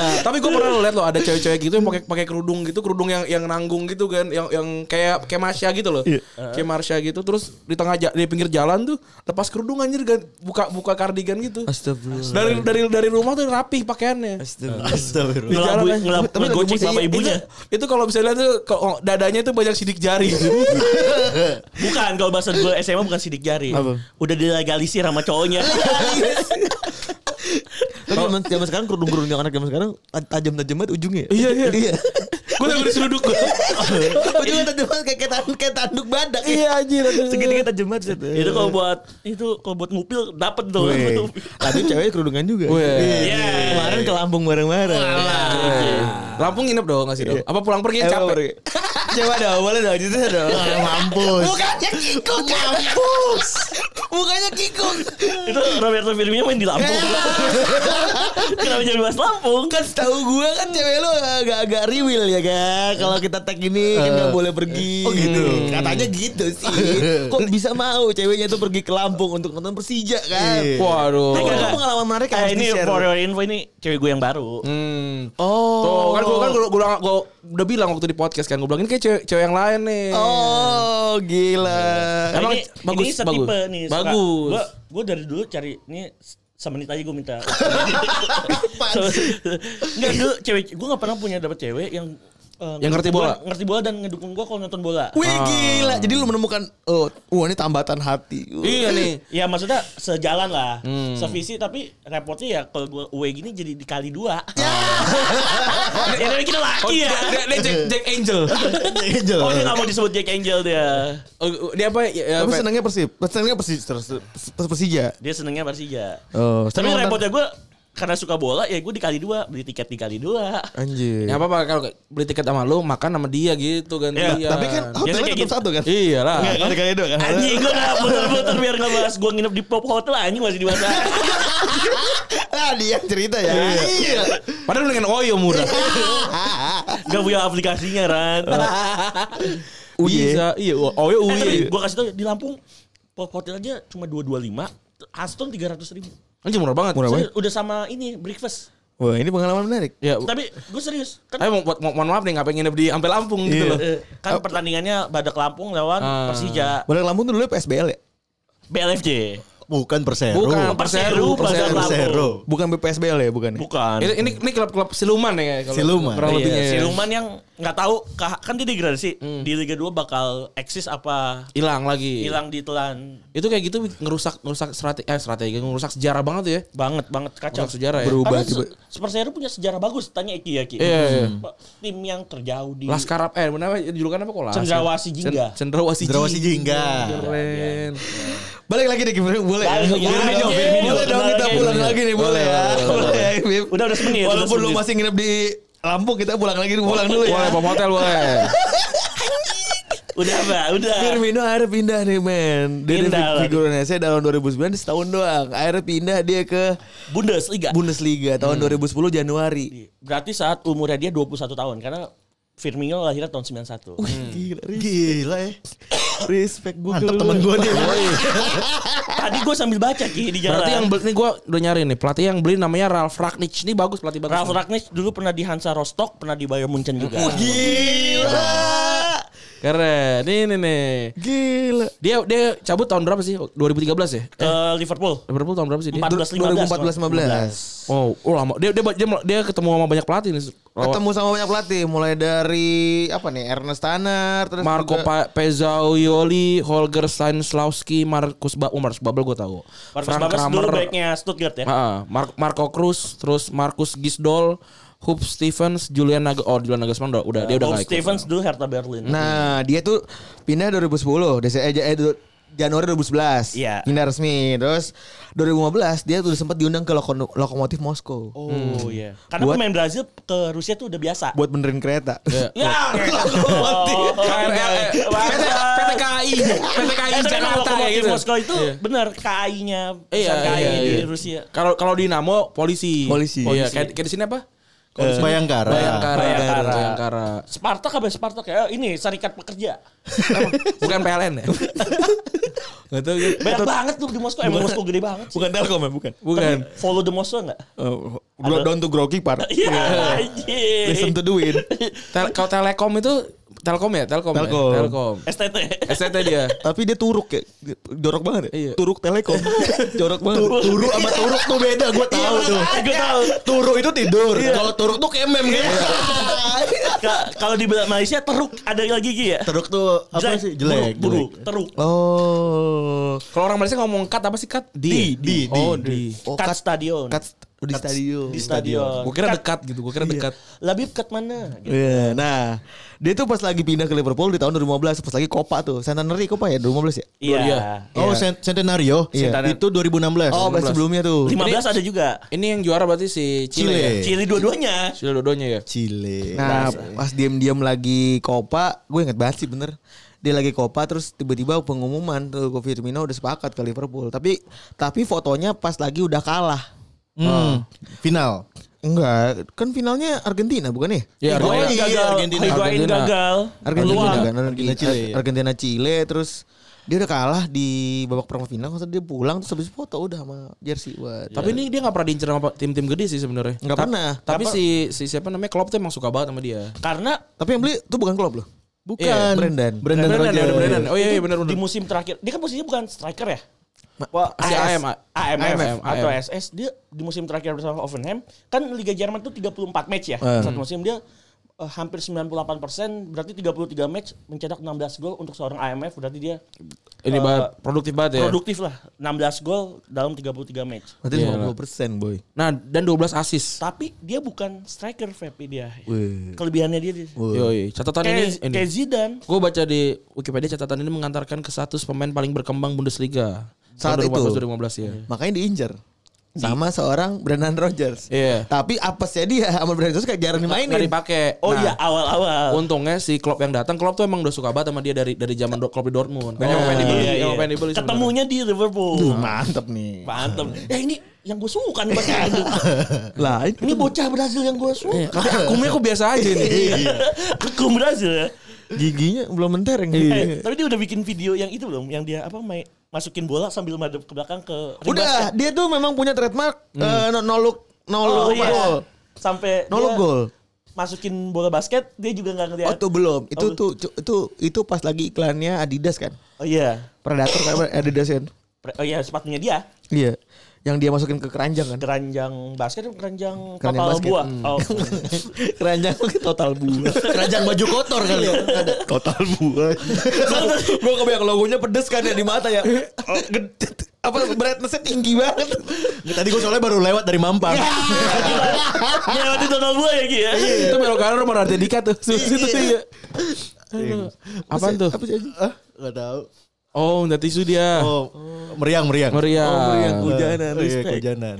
Tapi gue pernah lihat loh ada cewek-cewek gitu yang pakai pakai kerudung gitu, kerudung yang yang nanggung gitu kan, yang yang kayak kayak Marsha gitu loh. Kayak Marsha gitu terus di tengah ja- di pinggir jalan tuh lepas kerudung anjir gan- buka buka kardigan gitu.
Astagfirullah.
Dari dari dari rumah tuh rapi pakaiannya.
Astagfirullah.
ngelabui
Di jalan,
ngelab-
tapi lagi
ngegocek
musik.
bapak ibunya
Iya. Itu, itu kalau misalnya tuh kalau dadanya tuh banyak sidik jari.
bukan kalau bahasa gue SMA bukan sidik jari udah dilegalisir sama cowoknya
Tapi zaman, zaman sekarang kerudung-kerudung yang anak zaman sekarang tajam-tajam banget ujungnya.
Iya, iya.
iya.
gue udah diseruduk gue.
[laughs] ujungnya tajam banget kayak kayak tanduk, kayak tanduk badak.
Iya anjir.
Segitiga tajam banget.
itu kalau buat itu kalau buat ngupil dapat tuh
Tapi ceweknya kerudungan juga.
Weh.
Iya. Kemarin ke Lampung bareng-bareng.
Lampung nginep dong nggak sih dong? Apa pulang pergi
Iya. Eh,
yang
apa,
capek?
Ri? Coba dong, boleh dong, gitu dong.
Mampus.
Mukanya kikuk. Mampus. Mukanya kikuk.
[laughs] itu Roberto Firmino main di Lampung [laughs] kenapa jadi bahas Lampung
Iya. Kan setahu gua kan cewek lu agak-agak riwil ya kan. Kalau kita tag ini kan gak boleh pergi. Oh gitu. Katanya gitu sih. Kok bisa mau ceweknya tuh pergi ke Lampung untuk nonton Persija kan.
Iya. Waduh.
Nah,
Enggak,
itu
enggak.
pengalaman menarik yang
Eh,
harus
ini
di-share.
for your info ini cewek gue yang baru
Hmm.
Oh.
Tuh kan gue kan gua, gua, gua udah bilang waktu di podcast kan gue bilang ini kayak cewek, cewek yang lain nih.
Oh, gila.
Nah,
Emang
ini,
bagus,
ini setipe
bagus.
nih.
Bagus.
Gue gue dari dulu cari ini semenit aja gue
[laughs]
minta. Enggak dulu cewek gue nggak pernah punya dapat cewek yang eh,
Yang ngerti bola? Uh,
gua Ngerti bola dan ngedukung gue kalau nonton bola.
Wih gila. Jadi lu menemukan oh, wah ini tambatan hati.
Iya nih. Hmm.
Ya maksudnya sejalan lah, sevisi tapi repotnya ya kalau gue UE gini jadi dikali
[laughs]
dua. ya tapi kita
Oh,
laki [laughs]
dia,
ya.
dia, dia Jack, Jack
[laughs]
Angel.
Iya,
Oh dia gak mau disebut Jack Angel dia.
Oh, dia apa? Ya, ya,
Tapi
apa?
iya.
senangnya Persib. Senangnya Persib Persija.
Dia senengnya Persija.
Oh,
tapi
seneng
repotnya gue karena suka bola ya gue dikali dua beli tiket dikali dua.
Anjir.
Ya apa apa kalau beli tiket sama lu makan sama dia gitu gantian.
Iya,
Tapi kan hotelnya
kayak
tetap
gitu.
satu kan.
iyalah.
Ada kayak itu kan.
Anjing gue gak muter-muter biar gak bahas gue nginep di pop hotel anjing masih di masa.
Ah, dia yang cerita ya. Iya.
Padahal dengan Oyo murah.
gak punya aplikasinya Ran.
Iya, iya,
eh,
Oyo
tapi
uye.
gue kasih tau ya, di Lampung pop hotel aja cuma 225 Aston 300 ribu.
Anjir murah banget.
Murah banget.
Serius, udah sama ini breakfast.
Wah, ini pengalaman menarik.
Ya,
Tapi gue serius. Kan
tapi mo mo mohon maaf nih ngapain nginep di Ampel Lampung gitu
Iya.
loh.
eh, kan pertandingannya Badak Lampung lawan
Ah.
Persija
Bandar Lampung tuh dulu PSBL ya?
BLFJ.
Bukan Persero.
Bukan
Perseru, Badak
Persero.
Lampung.
Bukan PSBL ya, bukan.
Bukan.
Ini ini, ini klub-klub siluman ya kalau
Siluman.
Kurang
Iya,
lebihnya.
Gitu.
ya. Hmm.
Siluman yang nggak tahu kah- kan dia degradasi di Liga 2 bakal eksis apa
hilang lagi.
hilang ditelan
Itu kayak gitu ngerusak ngerusak strategi eh strategi ngerusak sejarah banget tuh ya.
banget banget kacau.
Ngerusak sejarah ya.
Berubah
Padahal
tiba.
se- Persero punya sejarah bagus tanya Eki ya Ki.
Iya, iya.
Pak, Tim yang terjauh di
Laskar apa? Eh, benar julukan apa kok Laskar?
Cendrawasih Jingga.
Cen- Cendrawasih
Jerawasi
Jingga.
jingga.
Keren.
Balik lagi deh Gimana boleh. ya?
Balik lagi.
Boleh dong,
Boleh,
boleh dong
boleh,
kita
boleh.
pulang lagi nih, boleh ya. Boleh ya, Bib.
Udah, udah semenit, udah
Walaupun lu
semenit.
masih nginep di Lampung kita pulang lagi, pulang dulu
Boleh
ya.
bom hotel boleh.
Udah Mbak, udah.
Firmino akhirnya pindah nih men Dia
Pindah
dari
lah.
figur Indonesia tahun 2009 setahun doang Akhirnya pindah dia ke
Bundesliga.
Bundesliga tahun
Hmm.
2010 Januari
Berarti saat umurnya dia 21 tahun karena Firmino lahirnya tahun 91.
Gila, gila ya Respect gue Mantap temen gue nih
Tadi gue sambil baca Ki di jalan.
Berarti yang beli nih gua udah nyari nih pelatih yang beli namanya Ralf Ragnick. Ini bagus pelatih bagus.
Ralf Ragnick dulu pernah di Hansa Rostock, pernah di Bayern Munchen juga.
Oh,
Gila
Keren. Ini nih nih.
Gila
Dia dia cabut tahun berapa sih? 2013 ya?
Ke Eh, Liverpool.
Liverpool tahun berapa sih dia?
14
2014-15
Oh, oh lama. Dia, dia dia dia ketemu sama banyak pelatih nih.
Ketemu sama banyak pelatih Mulai dari Apa nih Ernest Tanner terus
Marco
juga-
pa Pezzaoli, Holger Stanislawski, Markus ba oh, Markus Babel gue tahu.
Marcus Babas dulu backnya Stuttgart ya.
Ah, ah. Mar- Marco Cruz, terus Markus Gisdol, Hoop Stevens, Julian Nag oh Julian Nagelsmann udah, udah dia udah
Bob
nggak ikut.
Stevens dulu Hertha Berlin.
Nah dia tuh Pindah 2010 Desa- eh, eh, du- Januari 2011
Iya.
Pindah resmi Terus 2015 Dia tuh sempat diundang ke Loko- Lokomotif Moskow
Hmm.
Oh iya. Karena
Buat-
pemain Brazil ke Rusia tuh udah biasa.
Buat benerin kereta
[laughs] Ya. Oh,
KRL, eh, PT, PT [laughs] KAI, PT KAI
Iya.
Eh, tapi emang
Jakarta ya
lokomotif
gitu.
Moskow itu benar KAI-nya
Iya,
perusahaan KAI
iya,
di
iya.
Rusia.
Kalau kalau Dinamo polisi.
Polisi.
Oh iya, kayak kayak di sini apa?
Eh, Bayangkara.
Bayangkara.
Bayangkara.
Bayangkara.
Spartak apa Spartak ya? Eh, Ini Serikat Pekerja.
Bukan PLN
[laughs]
ya? Gak tau gitu.
Banyak banget tuh di Moskow. Emang Moskow gede banget sih.
Bukan Telkom ya, bukan.
Bukan.
Follow the Moskow enggak?
Uh, down to grogi part.
[laughs]
Iya.
Iya, anjing.
Listen to the wind.
Tel- kalau Telekom itu Telkom ya, Telkom. ya?
Telkom.
Telkom.
STT.
STT dia.
Tapi dia turuk ya. Jorok banget ya.
Iya.
Turuk Telekom. Jorok banget. Turuk, sama turuk tuh beda, gue tahu tuh.
Gue tahu.
Turuk itu tidur. Kalau turuk tuh gitu. kemem gitu.
[laughs] Ka- Kalau di Malaysia teruk ada lagi Ki, ya.
turuk tuh apa
Jelek,
sih? Jelek.
buruk, buruk,
jelek.
teruk.
Oh.
Kalau orang Malaysia ngomong cut apa sih cut?
Di, di, di.
Oh, di.
Oh,
Cut
cut-
stadion.
cut oh, di stadion.
di stadion.
Gue kira dekat gitu, gue kira dekat.
Labib cut mana? Gitu.
Iya, nah dia tuh pas lagi pindah ke Liverpool di tahun 2015 pas lagi Copa tuh Centenary Copa ya 2015 ya
Iya.
Oh Cent- Centenario Iya.
Centenar-
itu 2016 Oh sebelumnya tuh
15 ada juga.
Ini yang juara berarti si Chile. ya?
Chile.
Ciri dua-duanya.
Chile dodonya ya.
Chile. Nah, pas diam-diam lagi Copa, gue inget banget sih bener. Dia lagi Copa terus tiba-tiba pengumuman tuh ke Firmino udah sepakat ke Liverpool. Tapi tapi fotonya pas lagi udah kalah.
Hmm.
Final. Enggak, kan finalnya Argentina bukan ya?
Ya,
Gue
Argentina.
gagal.
Argentina.
Higuain
Argentina.
gagal.
Argentina
Peluang.
kan, Argentina Chile. Argentina Chile terus dia udah kalah di babak perempat final, terus dia pulang terus habis foto udah sama jersey. Wah,
Tapi ini dia gak pernah diincer sama tim-tim gede sih sebenarnya.
Nggak
Ta-
pernah.
Tapi si, si siapa namanya Klopp tuh emang suka banget sama dia.
Karena
tapi yang beli tuh bukan klub loh. Bukan.
Iya,
Brendan.
Brandon, ya, udah Brandon. Oh iya, iya benar
di
benar.
musim terakhir, dia kan posisinya bukan striker ya?
Si
AS,
AM,
AMF,
AMF.
atau SS dia di musim terakhir bersama Offenheim kan Liga Jerman tuh 34 match ya. Satu musim dia eh, hampir 98% berarti 33 match mencetak 16 gol untuk seorang AMF berarti dia
Ini
Eh,
banget produktif banget ya.
produktif lah 16 gol dalam 33 match.
Berarti
Iya,
50% boy.
Nah, dan 12 assist.
Tapi dia bukan striker Fepi dia. Kelebihannya dia. dia.
Yoi, catatan ini,
Kayak
ini.
kayak Zidane.
Gue baca di Wikipedia catatan ini mengantarkan ke status pemain paling berkembang Bundesliga.
Saat itu.
2015 ya.
Makanya diinjer. Sama seorang Brendan Rodgers.
Iya.
Tapi apesnya dia sama Brendan Rodgers kayak jarang
Nggak
dimainin.
dipakai.
Oh
Nah,
iya awal-awal.
Untungnya si Klopp yang datang, Klopp tuh emang udah suka banget sama dia dari dari zaman Do- Klopp di Dortmund. Kayaknya
Oh,
emang pengen dibeli,
iya, iya.
emang pengen dibeli sebenarnya.
Ketemunya di
Duh, Iya.
Liverpool.
mantep nih.
Mantap. Ya ini yang gue suka nih bacaan
[laughs]
ini.
Lah, ini Iya.
Ini bocah Brazil yang gue suka.
Tapi akumnya kok biasa aja nih.
Iya. Aku Brazil ya.
giginya belum mentereng. Iya.
Eh, tapi dia udah bikin video yang itu belum? Yang dia apa main masukin bola sambil madep ke belakang ke ring
Udah,
basket.
dia tuh memang punya trademark eh, no, no look no
Oh,
look
iya.
goal.
Sampai
No
dia
look goal.
Masukin bola basket, dia juga nggak ngeliat.
Oh, tuh belum. Itu
Oh.
tuh cu- itu itu pas lagi iklannya Adidas kan.
Oh iya.
Predator kan Adidas kan.
Pre- Oh iya, sepatunya dia
Iya. Yang dia masukin ke keranjang
[laughs]
kan.
keranjang basket atau keranjang,
Keranjang
total
basket,
buah.
hmm.
[laughs]
Oh.
keranjang ke total buah.
Keranjang baju kotor kali
[laughs]
ya. Ada.
total buah. Gue kebayang logonya pedes kan ya di mata ya. Oh, gede- Apa brightnessnya tinggi banget.
Tadi gue soalnya baru lewat dari Mampang.
Melewati total buah ya Ki ya.
Itu belok kanan rumah Raditya tuh. Situ sih ya. Apaan tuh?
Apa sih?
Ah, Gak Iya. tahu.
Oh, udah tisu dia.
Oh, meriang meriang.
Meriah.
Hujanan,
Oh, iya,
respect.
kehujanan.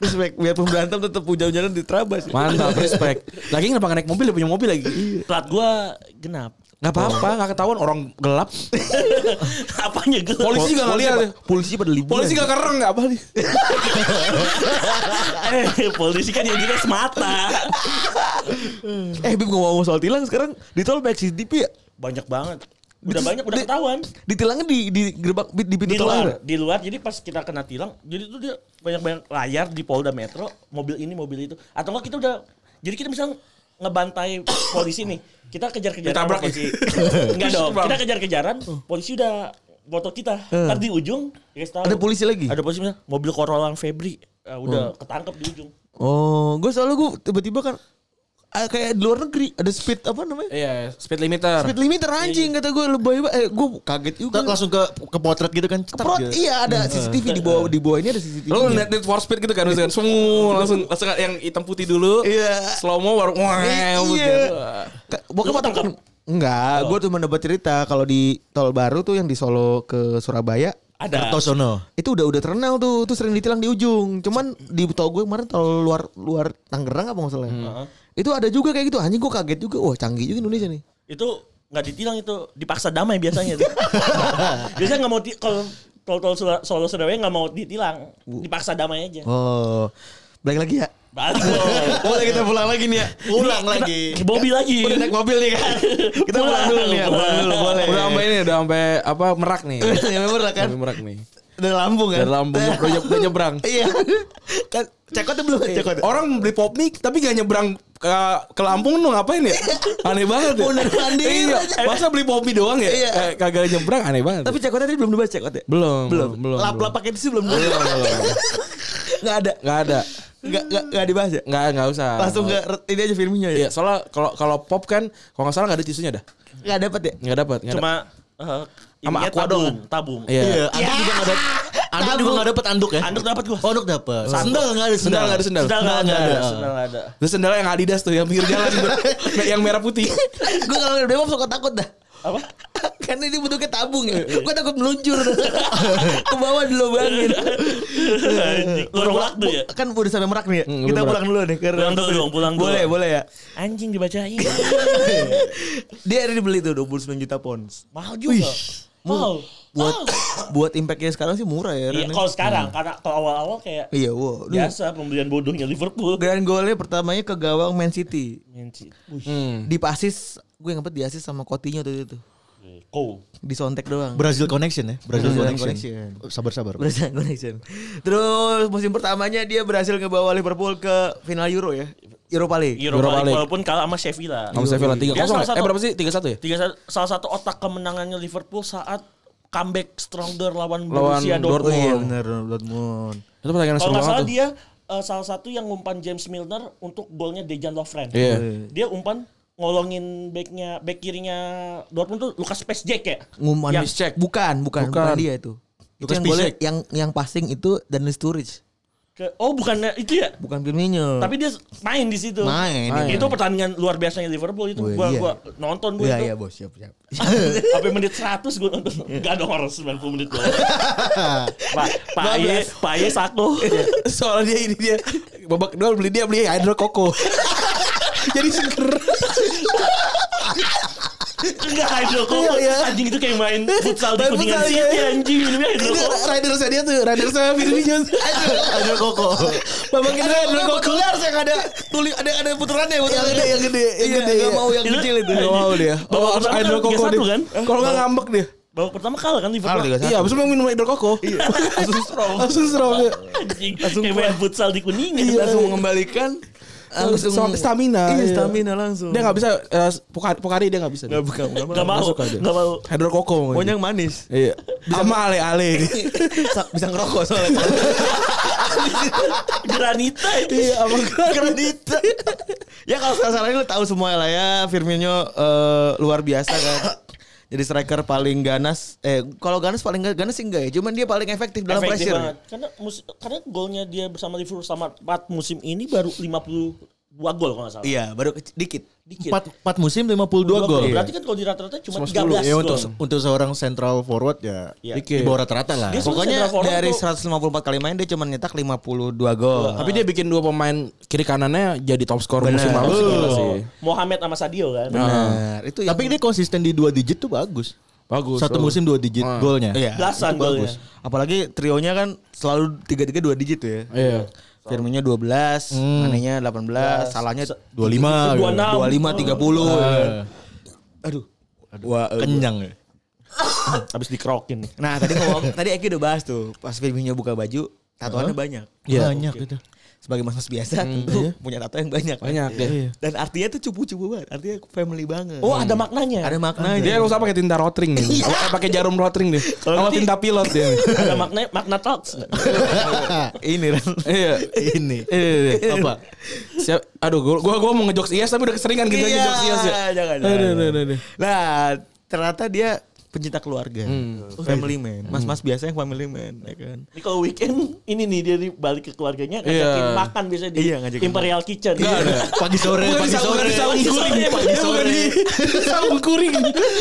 Respect. Biarpun berantem tetap hujan-hujanan di Trabas. ya.
Mantap, respect. Lagi kenapa nggak naik mobil? Dia punya mobil lagi.
Plat gua
[laughs]
genap.
Gak apa-apa, gak ketahuan orang gelap.
Apanya gue?
Polisi juga nggak lihat.
ya? Polisi pada liburan.
Polisi gak kereng nggak apa nih?
[laughs] eh, polisi kan yang dia semata.
Eh Bib ngomong soal tilang sekarang di tol back CCTV ya?
Banyak banget. Udah
Di-
banyak udah
di-
ketahuan.
Ditilangnya di di gerbang di, di pintu
Di
tol akhir
luar,
ya?
di luar. Jadi pas kita kena tilang, jadi tuh dia banyak-banyak layar di Polda Metro, mobil ini, mobil itu. Atau enggak kita udah jadi kita misalnya ngebantai [coughs] polisi nih. Kita kejar-kejaran sama
Ditabrak.
[laughs]
polisi. Enggak dong. Kita kejar-kejaran, polisi udah foto kita. Ntar di ujung dikasih tahu.
Hmm. Ada polisi Hmm. lagi?
Ada polisi bilang, mobil Corolla Febri eh, udah ketangkep di ujung.
Oh, gue selalu gue tiba-tiba kan ah, kayak di luar negeri ada speed apa namanya?
Iya, speed limiter.
Speed limiter anjing kata gue lebay banget. Eh, gue kaget juga.
Kita langsung ke ke potret gitu kan. cetak
Keprot,
gitu.
iya ada CCTV di bawah di bawah ini ada CCTV.
Lo ngeliat Need for Speed gitu kan, misalkan semua langsung langsung yang hitam putih dulu,
Iya.
slow mo baru wah,
Eh,
gitu
iya.
ya?
Ka- Bokap
Lu
atau
ketangkep?
Enggak, gue cuma dapat cerita kalau di tol baru tuh yang di Solo ke Surabaya
Ada.
Tosono.
itu udah udah terkenal tuh tuh sering ditilang di ujung cuman di tau gue kemarin tol luar luar Tangerang apa maksudnya
Hmm.
itu ada juga kayak gitu anjing gue kaget juga wah canggih juga Indonesia nih
itu nggak ditilang itu dipaksa damai
[laughs]
biasanya tuh. biasanya nggak mau di, kalau tol tol Sula- Solo Surabaya nggak mau ditilang dipaksa damai aja
oh balik lagi ya
balik dong.
Boleh kita pulang lagi nih ya. Pulang lagi.
Ke Bobby lagi
Udah naik mobil nih kan. Kita pulang dulu nih ya. Pulang dulu boleh.
Udah sampai ini, udah sampai apa merak
[laughs]
nih.
Iya,
Ya memang kan.
Sampai merak nih.
Nah.
Dari Lampung kan.
Dari Lampung udah, nye- udah nyebrang.
Iya. Kan cekotnya belum
Iya,
Oh, cekot.
Orang beli pop mie tapi gak nyebrang ke, ke Lampung lu ngapain
Iya.
ya? Aneh banget ya.
Mondar mandir
Iya, Masa beli pop mie doang ya?
Iya.
Eh, Kagak nyebrang aneh banget.
tapi cekotnya tadi belum dibahas cekotnya
ya?
belum, belum, belum.
Lap-lap pakai tisu belum.
belum, belum.
nggak ada
Gak ada.
nggak nggak nggak dibahas ya
Gak, gak usah.
langsung ke ini aja filmnya ya
Iya, soalnya kalau kalau pop kan kalau nggak salah nggak ada tisunya dah.
nggak dapat ya
Nggak dapat. nggak
cuma eh,
Sama
ininya
aku
tabung
doang.
tabung
dapat. Iya.
Iya, anduk juga enggak ada. Anduk juga enggak dapat anduk ya.
anduk dapat gua
Oh, anduk dapat. Sendal enggak ada
Sendal nggak ada sendal.
sendal nggak ada
Nggak ada.
sendal nggak ada
Terus sendalnya yang Adidas tuh yang pinggir jalan tuh. yang merah putih.
gue kalau udah mau suka takut dah
apa Iya,
kan ini bentuknya tabung ya gue takut meluncur ke bawah di lubangin
Anjing, lorong waktu ya
kan udah sampai merak nih ya
Hmm,
kita
udah
pulang dulu nih karena
Pulang dulu dong, pulang dulu.
boleh boleh ya
anjing dibacain
dia ada dibeli tuh 29 juta pounds
mahal juga mahal
buat
Mahal.
buat impactnya sekarang sih murah ya.
Iya,
Ren.
kalau sekarang karena kalau awal-awal kayak
iya wow. Duh,
biasa pembelian bodohnya Liverpool
Grand goalnya pertamanya ke gawang Man City.
Wih,
Di pasis gue ngempet di asis sama Coutinho tuh itu.
Cool.
Disontek doang.
Brazil Connection ya. Brazil
Brazil Connection.
Connection. Sabar-sabar.
Brazil connection. Terus musim pertamanya dia berhasil ngebawa Liverpool ke final Euro ya. Europa League.
Europa
Europa
League,
League.
walaupun kalah sama Sevilla.
Sama Sevilla
Dia
3-0
salah
ya? Eh
satu-
berapa sih? 3-1 ya?
Tiga sa- salah satu otak kemenangannya Liverpool saat comeback stronger lawan
Lawan
Borussia
Dortmund.
Dortmund.
benar Iya, Dortmund.
Itu pertandingan
Kalau
seru
nggak
banget
salah
tuh.
dia eh, salah satu yang umpan James Milner untuk golnya Dejan Lovren.
Iya.
Dia umpan ngolongin backnya back kirinya Dortmund tuh Lukas Pesjek ya.
Ngumpan
Yang-
Piszczek. Bukan, bukan, bukan,
Bukan.
dia itu. Itu
Lukas
yang golnya
Piszczek.
yang yang passing itu dan Sturridge,
Ke, oh bukan itu ya.
bukan Firmino.
Tapi dia main di situ.
Main, iya.
Itu pertandingan luar biasanya Liverpool itu.
Wih,
Gua
iya.
gua nonton gua
Iya,
itu.
iya, Bos, siap, siap. [laughs]
[laughs]
Sampai menit 100 gue nonton.
Iya.
Enggak dong orang 90 menit
[laughs]
doang. Pak Pak Aye, Pak Aye satu.
Iya. Soalnya dia ini dia babak kedua beli dia beli hydro koko.
[laughs]
Jadi seger.
Enggak hidrokoko.
Iya, iya.
Anjing itu kayak main futsal di
Main
Kuningan
futsal, iya,
City
iya.
anjing minumnya
Itu
hidrokoko.
rider saya dia tuh, rider saya Vinny [laughs] Jones.
Ada koko.
Babak kedua hydro koko.
yang ada tuli ada ada puterannya,
Yang gede, yang gede, yang
Iya,
gede.
nggak mau yang
Itu-
kecil itu.
Nggak mau dia.
Babak
Oh, harus
pertama
hydro
kan
koko
3-1
dia.
kan?
Kalau nggak ngambek dia.
Babak pertama kalah kan
Kalah
Liverpool.
tiga-satu.
Iya, abis lu minum hydro koko.
[laughs] Langsung strong.
Langsung serong dia.
Anjing kayak main futsal di Kuningan.
Iya.
Langsung mengembalikan langsung
Sama stamina.
Iya,
iya.
stamina langsung.
Dia nggak bisa eh, Pokari Pokari dia nggak bisa. Nggak bukan.
Enggak mau.
Masuk aja. [laughs]
Enggak mau.
Hydro koko.
Pokoknya yang manis.
Iya. Sama ale-ale.
Sa- [laughs] bisa ngerokok soalnya.
Granita itu.
Iya, [laughs] abang kredit. ya kalau sekarang lu tahu semua lah ya, Firmino eh, luar biasa
[coughs]
kan. Jadi striker paling ganas. Eh, kalau ganas paling ga- ganas sih enggak ya, cuman dia paling efektif dalam
Efektif
pressure.
banget. Karena mus- karena golnya dia bersama Liverpool sama 4 musim ini baru 52 gol kalau nggak salah.
Iya, baru kec- dikit.
Dikit.
Empat, empat musim 52 gol.
Berarti kan kalau di rata-rata cuma 13 gol.
Iya,
Ya untuk untuk seorang central forward ya
Iya.
di bawah rata-rata lah.
Dia se-
Pokoknya
Central forward
dari
tuh-
154 kali main dia cuman nyetak 52 gol.
Tapi dia bikin dua pemain kiri kanannya jadi top skor
Bener.
musim lalu sih, gila sih.
Mohamed sama Sadio kan.
Nah.
Benar. Itu yang
Tapi dia konsisten di dua digit tuh bagus.
Bagus.
Satu
bagus.
musim dua digit
Ah.
golnya.
Iya.
Belasan golnya.
Apalagi trionya kan selalu 3-3 2 digit tuh ya.
Iya.
Firmino 12,
Hmm.
Manenya
Ya,
18, salahnya
25.
26.
25 30.
Wah, kenyang ya.
Habis dikerokin nih.
Nah tadi ngomong, tadi Eki udah bahas tuh pas Firmino buka baju tatoannya banyak.
Banyak gitu.
Sebagai mas-mas biasa tentu punya tato yang banyak. kan?
Banyak deh.
Dan artinya tuh cupu-cupu banget, artinya family banget.
Oh, ada maknanya.
ada maknanya.
Dia nggak usah pakai tinta [laughs] rotring nih. Apa- Pakai jarum rotring deh. Sama
nanti-
tinta pilot dia.
ada makna makna talks.
ini Ren.
Iya.
Ini. Apa?
Siap. Aduh, gua gua, gua mau ngejokes IAS tapi udah keseringan gitu aja ngejokes IAS ya.
jangan.
Aduh, aduh, aduh, aduh.
Nah, ternyata dia pencinta keluarga. Family man. Mas-mas biasa yang family man, ya kan.
Ini kalau weekend ini nih dia balik ke keluarganya ngajakin
Iya.
makan biasanya di
Iya, ngajakin
Imperial Kitchen.
Pagi sore,
Bukan di
pagi
saung- bukan
sore.
di saung kuring, pagi sore. Saung kuring.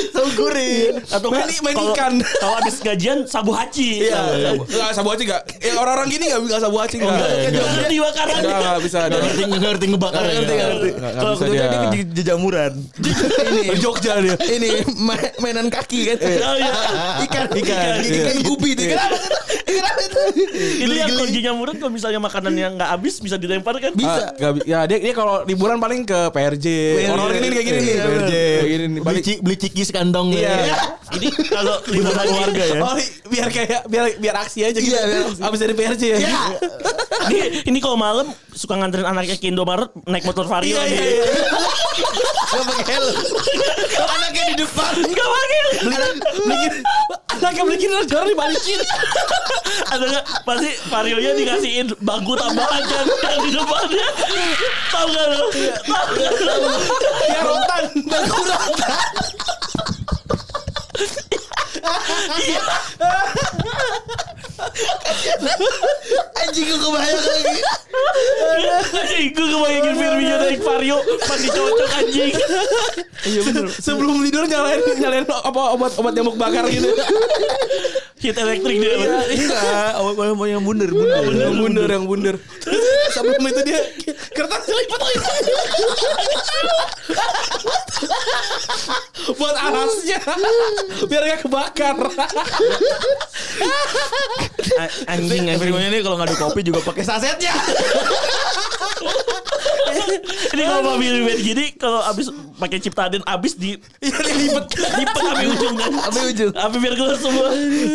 Tahu kuring.
Atau
Main-
nggak,
main
kalau-
ikan.
Kalau habis gajian sabu haji. Nah,
Iya. Enggak sabu aci enggak. Ya orang-orang gini enggak enggak sabu aci enggak.
Nggak
Iya.
ngerti makanan. Iya.
Enggak enggak bisa.
Nggak
dia.
ngerti, nggak ngerti ngebakar ya.
Nggak- nggak
Kalau
bisa
gue
dia.
Dia ke jejamuran.
Ke Jogja dia.
ini ma- mainan kaki kan.
Oh, iya.
ikan ikan
iya.
ikan gupi
kan.
itu kenapa tuh? kenapa itu
Itu yang kuncinya murah kalau misalnya makanan yang nggak habis bisa dilempar kan.
Ah, nggak bi- ya dia dia kalau liburan paling ke PRJ. Orang-orang ini kayak gini nih.
Iya,
PRJ
bener.
gini nih.
Beli,
Balik.
ci- beli ciki sekandong.
Iya.
ya.
Ini kalau liburan keluarga ya.
Oh, biar kayak biar biar aksi aja gitu.
Iya, biar aksi.
Abis dari PRJ ya.
Ini, ini kalau malam suka nganterin anaknya ke Indomaret naik motor Vario.
Iya,
lagi.
iya, iya.
gak pakai
[laughs]
helm anaknya di depan
Nggak panggil.
Beliin anaknya beliin sekarang dibalikin.
Ada nggak? Pasti varionya dikasihin bangku tambahan kan yang di depannya. Tahu nggak lo? Tahu nggak lo?
Ya rotan.
anjing gue kebayang lagi
Anjing, gue kebayangin Firmino naik vario pas dicocok anjing.
Iya, Sebelum tidur nyalain nyalain apa obat obat nyamuk bakar gitu.
Hit elektrik dia.
enggak Iya, awal awal mau yang bundar bundar
Yang bundar yang bundar. Terus Sebelum itu dia kertas lipat lagi. Buat alasnya biar gak kebakar.
A- Anjing anjing.
Everyone ini kalau ngadu kopi juga pakai sasetnya
Ini kalau Pak Billy Band gini kalau abis pakai ciptaan abis di
Iya dilipet.
dipet sampai ujung kan.
sampai ujung
Sampai biar keluar semua.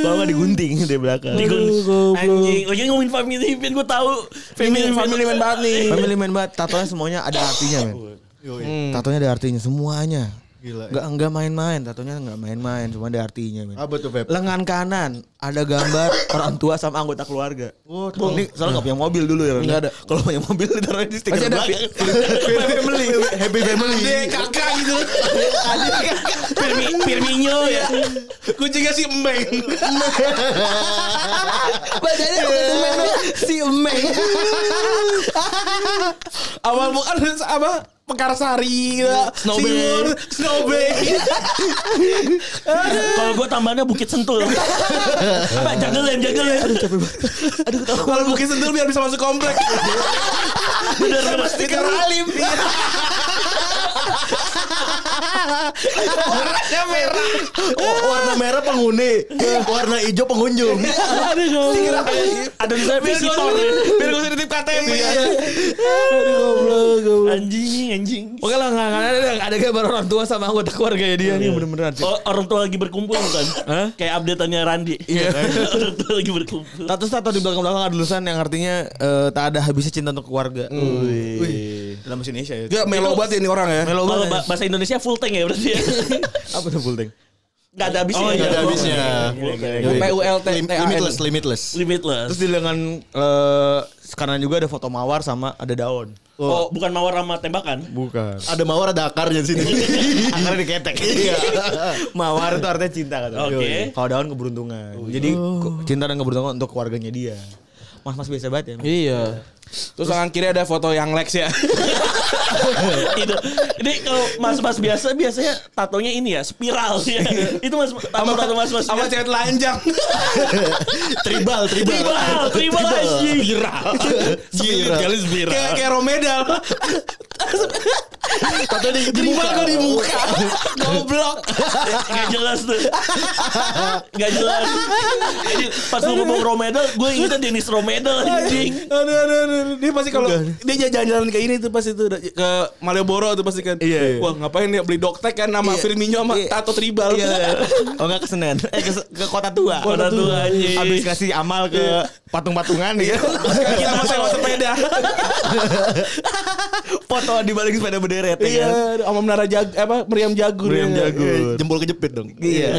kalau nggak digunting di belakang
Iya. Digun- Anjing, lagi ngomongin family band gue tahu family
family man banget nih.
Hmm.
family man banget tatonya semuanya ada artinya men tatonya ada artinya semuanya Gila. Enggak enggak main-main, tatonya enggak main-main, cuma ada artinya, men.
ya. Apa tuh, Feb?
Lengan kanan ada gambar [laughs] orang tua sama anggota keluarga.
Oh, Iya.
Bung, ini soalnya enggak punya mobil dulu ya. Enggak ada. Kalau punya mobil ditaruh di stiker
Masih ada
belakang.
family. Happy family.
kakak gitu.
Pirmi, Pirminyo ya.
Kucingnya si Meng.
Badannya bukan temen lu, si Emeng.
Awal bukan apa Pekarsari, ya. Snowbird, Snowbird.
Kalau gue tambahannya Bukit Sentul. Apa jagelen jagelen.
Kalau mungkin sentul biar bisa masuk komplek.
Bener bener.
Stiker alim.
Warna merah penghuni, warna hijau pengunjung.
Ada di saya visitor. ya.
Biar gue nitip
Iya.
KTP.
Iya.
Anjing anjing.
Oke lah, enggak enggak ada ada gambar orang tua sama anggota keluarga ya dia
Iya,
nih bener-beneran sih.
O- Oh, Orang tua lagi berkumpul kan? Kayak updateannya Randi. Iya. [laughs] Orang tua lagi berkumpul.
Tato tato di belakang-belakang ada tulisan yang artinya eh, tak ada habisnya cinta untuk keluarga.
Hmm.
Iya. Wih. Dalam bahasa Indonesia ya.
Gak melo banget ini orang ya.
Melo
Kalau
banget.
ba- bahasa Indonesia full tank ya berarti ya.
Apa tuh full tank?
Gak ada habisnya.
Oh, nggak ada
ya.
habisnya.
Iya.
eh,
PULT
Limitless, limitless.
Limitless.
Terus di lengan eh, kanan juga ada foto mawar sama ada daun.
Oh, bukan mawar sama tembakan.
Bukan.
Ada mawar, ada akarnya di sini.
Akarnya [laughs] diketek. mawar itu artinya cinta katanya.
Oke.
Kalau daun keberuntungan. Jadi ku- cinta dan keberuntungan untuk keluarganya dia. iya. Mas-mas biasa banget ya.
Iya. Terus tangan kiri ada foto yang Lex ya.
[laughs] itu. Ini kalau mas-mas biasa biasanya tatonya ini ya spiral ya. itu mas tato tato mas-mas.
Sama
biasa.
cewek telanjang.
tribal, tribal.
Tribal, tribal anjing.
Spiral.
Spiral. Spiral.
Kayak kayak Romedal.
Tato di, di
Tribal
muka.
kok di muka. Goblok.
Gak jelas tuh Gak jelas Jadi Pas lu ngomong Romedal Gue ingetnya Dennis Romedal anjing
Aduh, aduh, aduh. Dia pasti kalau dia jalan-jalan ke ini tuh pasti tuh ke Malioboro tuh pasti kan.
Iya, iya.
Wah, ngapain dia beli doktek kan nama
Iya.
Firmino sama
Iya.
tato tribal.
Oh enggak ke Senen. Eh ke, ke kota tua. Iya.
Kota tua, anjing.
Habis kasih amal ke patung-patungan [laughs] ya.
Kita sama sewa sepeda.
foto di balik sepeda berderet ya kan?
Iya, sama menara jag apa meriam jagur.
Meriam
Iya.
jagur.
Eh, Jempol kejepit dong.
Iya.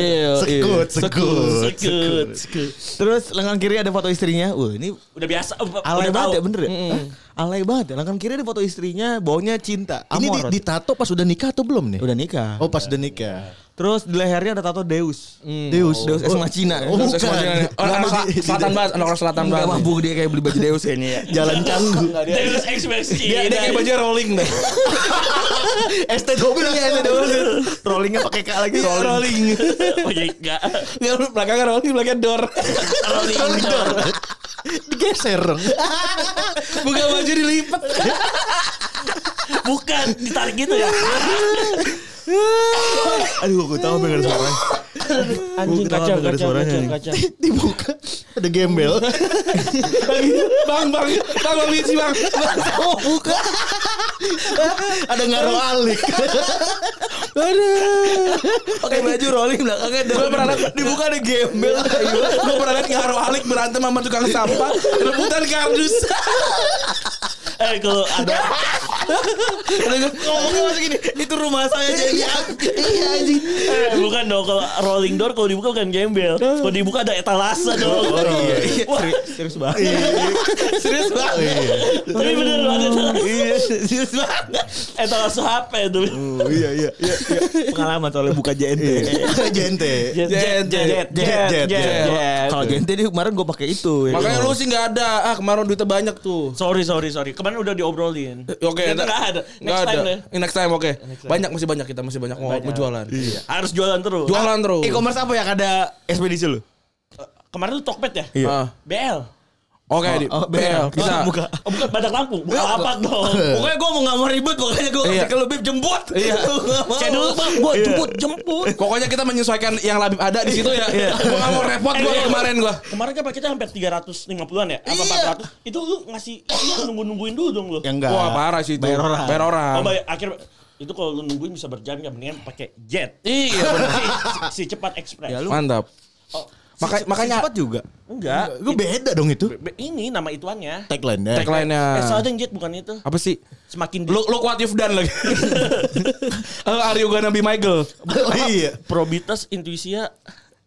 Sekut, sekut.
Sekut sekut.
Terus lengan kiri ada foto istrinya. Wah, ini
Udah biasa
alay
udah
banget
tahu.
ya bener ya? Hah? Alay banget ya. Lengan kiri ada foto istrinya, baunya cinta.
Ini
Amor.
di, ditato pas udah nikah atau belum nih?
udah nikah.
Oh pas udah nikah.
Terus di lehernya ada tato Deus.
Deus.
Deus ex machina.
Oh,
Deus ex
bukan.
machina.
Orang
Lama
orang
di-
selatan banget, orang selatan
Enggak
banget.
mampu dia kayak beli baju Deus kayaknya
[laughs]
ya.
Jalan canggu.
Terus ekspresi
Iya,
Nah,
Dia, dia kayak baju rolling [laughs] deh. Iya,
ST double ya, ST double.
Rollingnya pakai K lagi. Rolling.
rolling.
Oke enggak
Dia belakangnya rolling, belakangnya
[laughs]
door.
Rolling door
Digeser.
[laughs] Buka baju dilipat.
Bukan Ditarik gitu ya
Aduh, gue tahu pengen suaranya.
Anjing kacau
ada
kacau
suaranya
kacau
nih.
kacau
Dibuka. Ada gembel.
Bang, bang, bang, bang, misi, bang.
Oh, buka.
[laughs]
Ada ngaruh alik.
Pakai baju rolling belakangnya Deus.
Gue pernah liat-
dibuka ada gembel.
Gue pernah liat ngaruh alik berantem sama tukang sampah. Rebutan kardus.
Eh kalau ada
Ngomongnya masih gini, itu rumah saya Iya, jadi
eh, Bukan dong Kalau rolling door Kalau dibuka bukan gembel Kalau dibuka ada etalase dong Wah,
Serius banget. Serius banget.
Tapi bener loh, ada etalase.
Iya, serius banget.
Etalase HP tuh
Oh, iya, iya. iya, iya.
Pengalaman soalnya buka JNT.
Jente.
Jet jet jet jet
jet, jet.
Kalau JNT dia kemarin gue pakai itu. ya.
Makanya lu sih gak ada. Ah, kemarin duitnya banyak tuh.
Sorry sorry sorry. Kemarin udah diobrolin.
Eh, Oke,
Ternyata nggak ada. Next
Nggak
time
ada.
deh.
Eh, Next time, oke. Banyak, masih banyak kita, masih banyak mau mau jualan.
Iya.
Harus jualan terus.
Jualan terus.
e-commerce apa yang ada ekspedisi lu?
Eh, Kemarin tuh Tokped ya?
Ah.
BL.
Oke, di
oh,
BL
Bisa
bisa.
buka.
Oh, bukan Badak Lampung. Bukan apa dong.
Pokoknya gue mau gak mau ribut, pokoknya gue kasih
Iya.
ke lu bib jemput. Iya.
Kayak dulu bang, gue jemput jemput.
Pokoknya kita menyesuaikan yang Labib ada di situ ya. Gua nggak mau repot gua
Eh,
kemarin gua.
Kemarin kan kita hampir 350-an ya? Apa 400? Itu lu ngasih lu nunggu-nungguin dulu dong lu.
Ya enggak.
Wah, parah sih itu.
Bayar orang.
Bayar orang.
Oh, baik. Akhir itu kalau lu nungguin bisa berjam-jam mendingan pakai jet.
Iya, bener.
Si, si cepat ekspres.
Ya, lu-
Mantap. Maka, makanya
Cepat juga.
Enggak.
Gue beda dong itu.
Be- be- Ini nama ituannya.
Tagline-nya.
tagline-nya.
Eh, soalnya jet bukan itu.
apa sih?
Semakin di-
Look, look what you've done lagi. Eh, Are you gonna be Michael?
Oh, iya.
probitas intuisia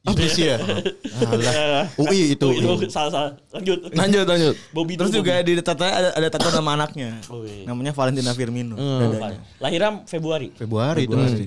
Apa sih ya?
[laughs]
Alah. UI itu. UI.
Oh, iya. salah salah lanjut
Lanjut, lanjut.
Bobby
Terus
dulu,
juga
Bobby.
di tato ada, ada tato nama anaknya.
Oh, iya.
Namanya Valentina Firmino. dadanya.
lahirnya Februari
Februari itu pasti.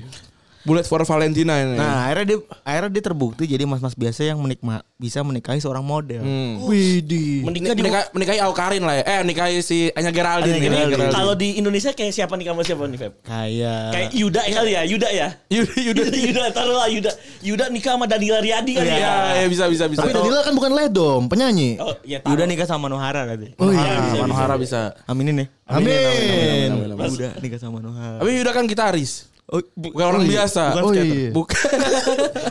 Bullet for Valentina ini.
Nah, akhirnya dia akhirnya dia terbukti jadi mas-mas biasa yang menikma, bisa menikahi seorang model.
menikah di
Menikah, menikahi Aukarin lah ya. Eh, nikahi si Anya Geraldine.
ini
Anya Geraldine.
kalau di Indonesia kayak siapa nih kamu siapa nih Feb
Kayak
kayak Yuda ya kali ya Yuda ya
Yuda, Yuda.
[laughs] Yuda taruh lah Yuda Yuda nikah sama Danila Riyadi kali
Iya,
ya
iya, bisa, bisa, bisa.
Tapi Danila kan bukan ledom, penyanyi.
Oh, ya taruh.
Yuda nikah sama Nohara tadi.
Oh
Ah,
iya.
Manohara bisa.
Aminin ya.
Amin.
Yuda nikah sama Nohara.
Tapi Yuda kan gitaris.
Oh,
Bukan orang biasa.
Bukan
Oh,
skater.
iya. Bukan.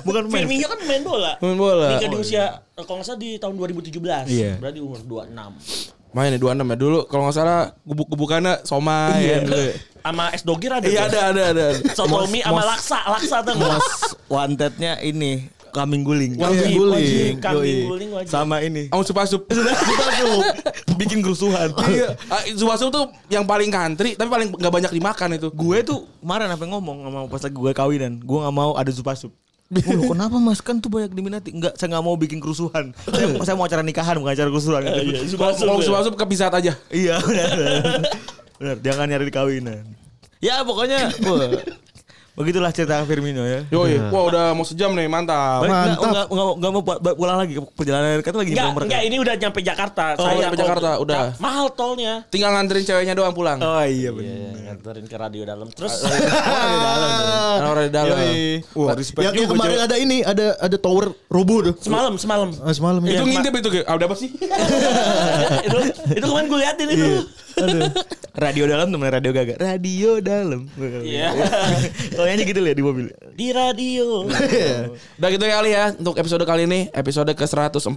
bukan main.
Firmino kan main bola
Main bola. Oh,
nikah di usia kalau nggak salah di tahun 2017
Iya.
berarti umur 26
Main ya 26 ya dulu kalau nggak salah gubuk-gubukannya somai ya dulu ya.
[laughs] sama S Dogir ada tuh.
Iya ada ada ada.
Sotomi sama Laksa Laksa tuh nggak?
Wanted-nya ini kambing guling. Iya.
Kambing guling.
Wajib,
Kambing
yoi.
guling wajib.
Sama
[laughs]
ini.
Sama supasup.
Bikin kerusuhan.
Iya, Ah, supasup tuh yang paling country tapi paling nggak banyak dimakan itu.
gue tuh kemarin apa yang ngomong sama pas lagi gue kawinan gue nggak mau ada zupasup Oh, loh, kenapa mas kan tuh banyak diminati Enggak saya nggak mau bikin kerusuhan saya, saya mau acara nikahan bukan acara kerusuhan kata gue.
[laughs] Iya, Subasum
Kalau
ya.
supasup kepisat aja.
iya benar benar jangan nyari di kawinan ya pokoknya wah, begitulah cerita Firmino ya
Yo, iya. wah udah mau sejam nih, mantap.
Baik, nggak-
Mantap.
nggak- nggak mau- nggak mau pu- pu- pulang lagi ke perjalanan kan lagi
Enggak,
di Bomber,
enggak
kan?
ini udah nyampe Jakarta.
Oh, nyampe
tol.
Jakarta, udah.
Nah, mahal tolnya.
Tinggal nganterin ceweknya doang pulang.
oh iya Ah, benar
Nganterin ke radio dalam. Terus
Ah,
Karena orang di dalam.
Wah, yang, yang kemarin ada ini, ada ada tower robo tuh.
semalam, semalam.
Oh,
Ah, semalam
Itu
itu.
ngintip itu, Ge. ah, udah apa sih?
[laughs] itu, itu kemarin gue liatin itu.
Iya.
radio dalam temen radio gagak radio dalam [laughs]
Iya.
kalau nyanyi gitu lihat di mobil
Di radio.
Udah gitu kali ya untuk episode kali ini, episode ke-143.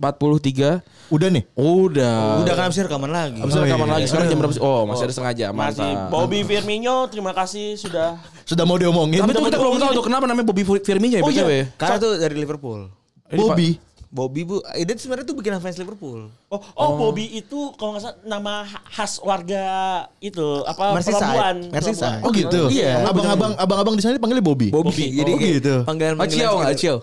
Udah nih.
Udah.
udah kan abis rekaman lagi
Habis itu
Oh,
rekaman lagi sekarang jam berapa sih? Oh, masih ada setengah jam.
iya, Masih
Mantap.
Bobby Firmino, terima kasih sudah.
Sudah mau diomongin.
Tapi tuh kita belum tahu tuh kenapa namanya Bobby Firmino ya,
gitu. Oh,
BTW.
iya.
Karena tuh dari Liverpool.
Bobby.
Bobby bu, eh, dia tuh sebenarnya tuh bikin fans Liverpool.
Oh, oh, Bobby itu kalau nggak salah nama khas warga itu apa
Merseyside.
pelabuhan.
Merseyside.
Pelabuhan.
Oh gitu.
Iya.
Abang-abang abang-abang di sana dipanggilnya Bobby.
Bobby.
Jadi
Oh,
kayak
gitu.
Panggilan
Acio enggak Acio?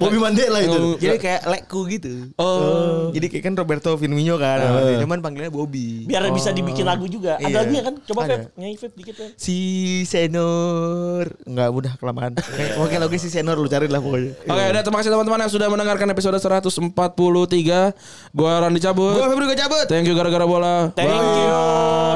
Bobby Mandela itu.
[laughs] Jadi kayak lekku gitu.
Oh.
Jadi kayak kan Roberto Firmino kan, namanya. cuman panggilannya Bobby.
Biar bisa dibikin lagu juga. Ada
Oh. Iya.
lagunya kan? Coba
Ada.
Feb, nyanyi Feb dikit ya.
Si Senor Enggak mudah kelamaan Kayak- Oke lagu si Senor lu cari lah pokoknya
Oke, udah terima kasih teman-teman yang sudah mendengarkan episode 143. Gua Randy cabut.
Gue Febri gue cabut
Thank you gara-gara bola.
Thank you.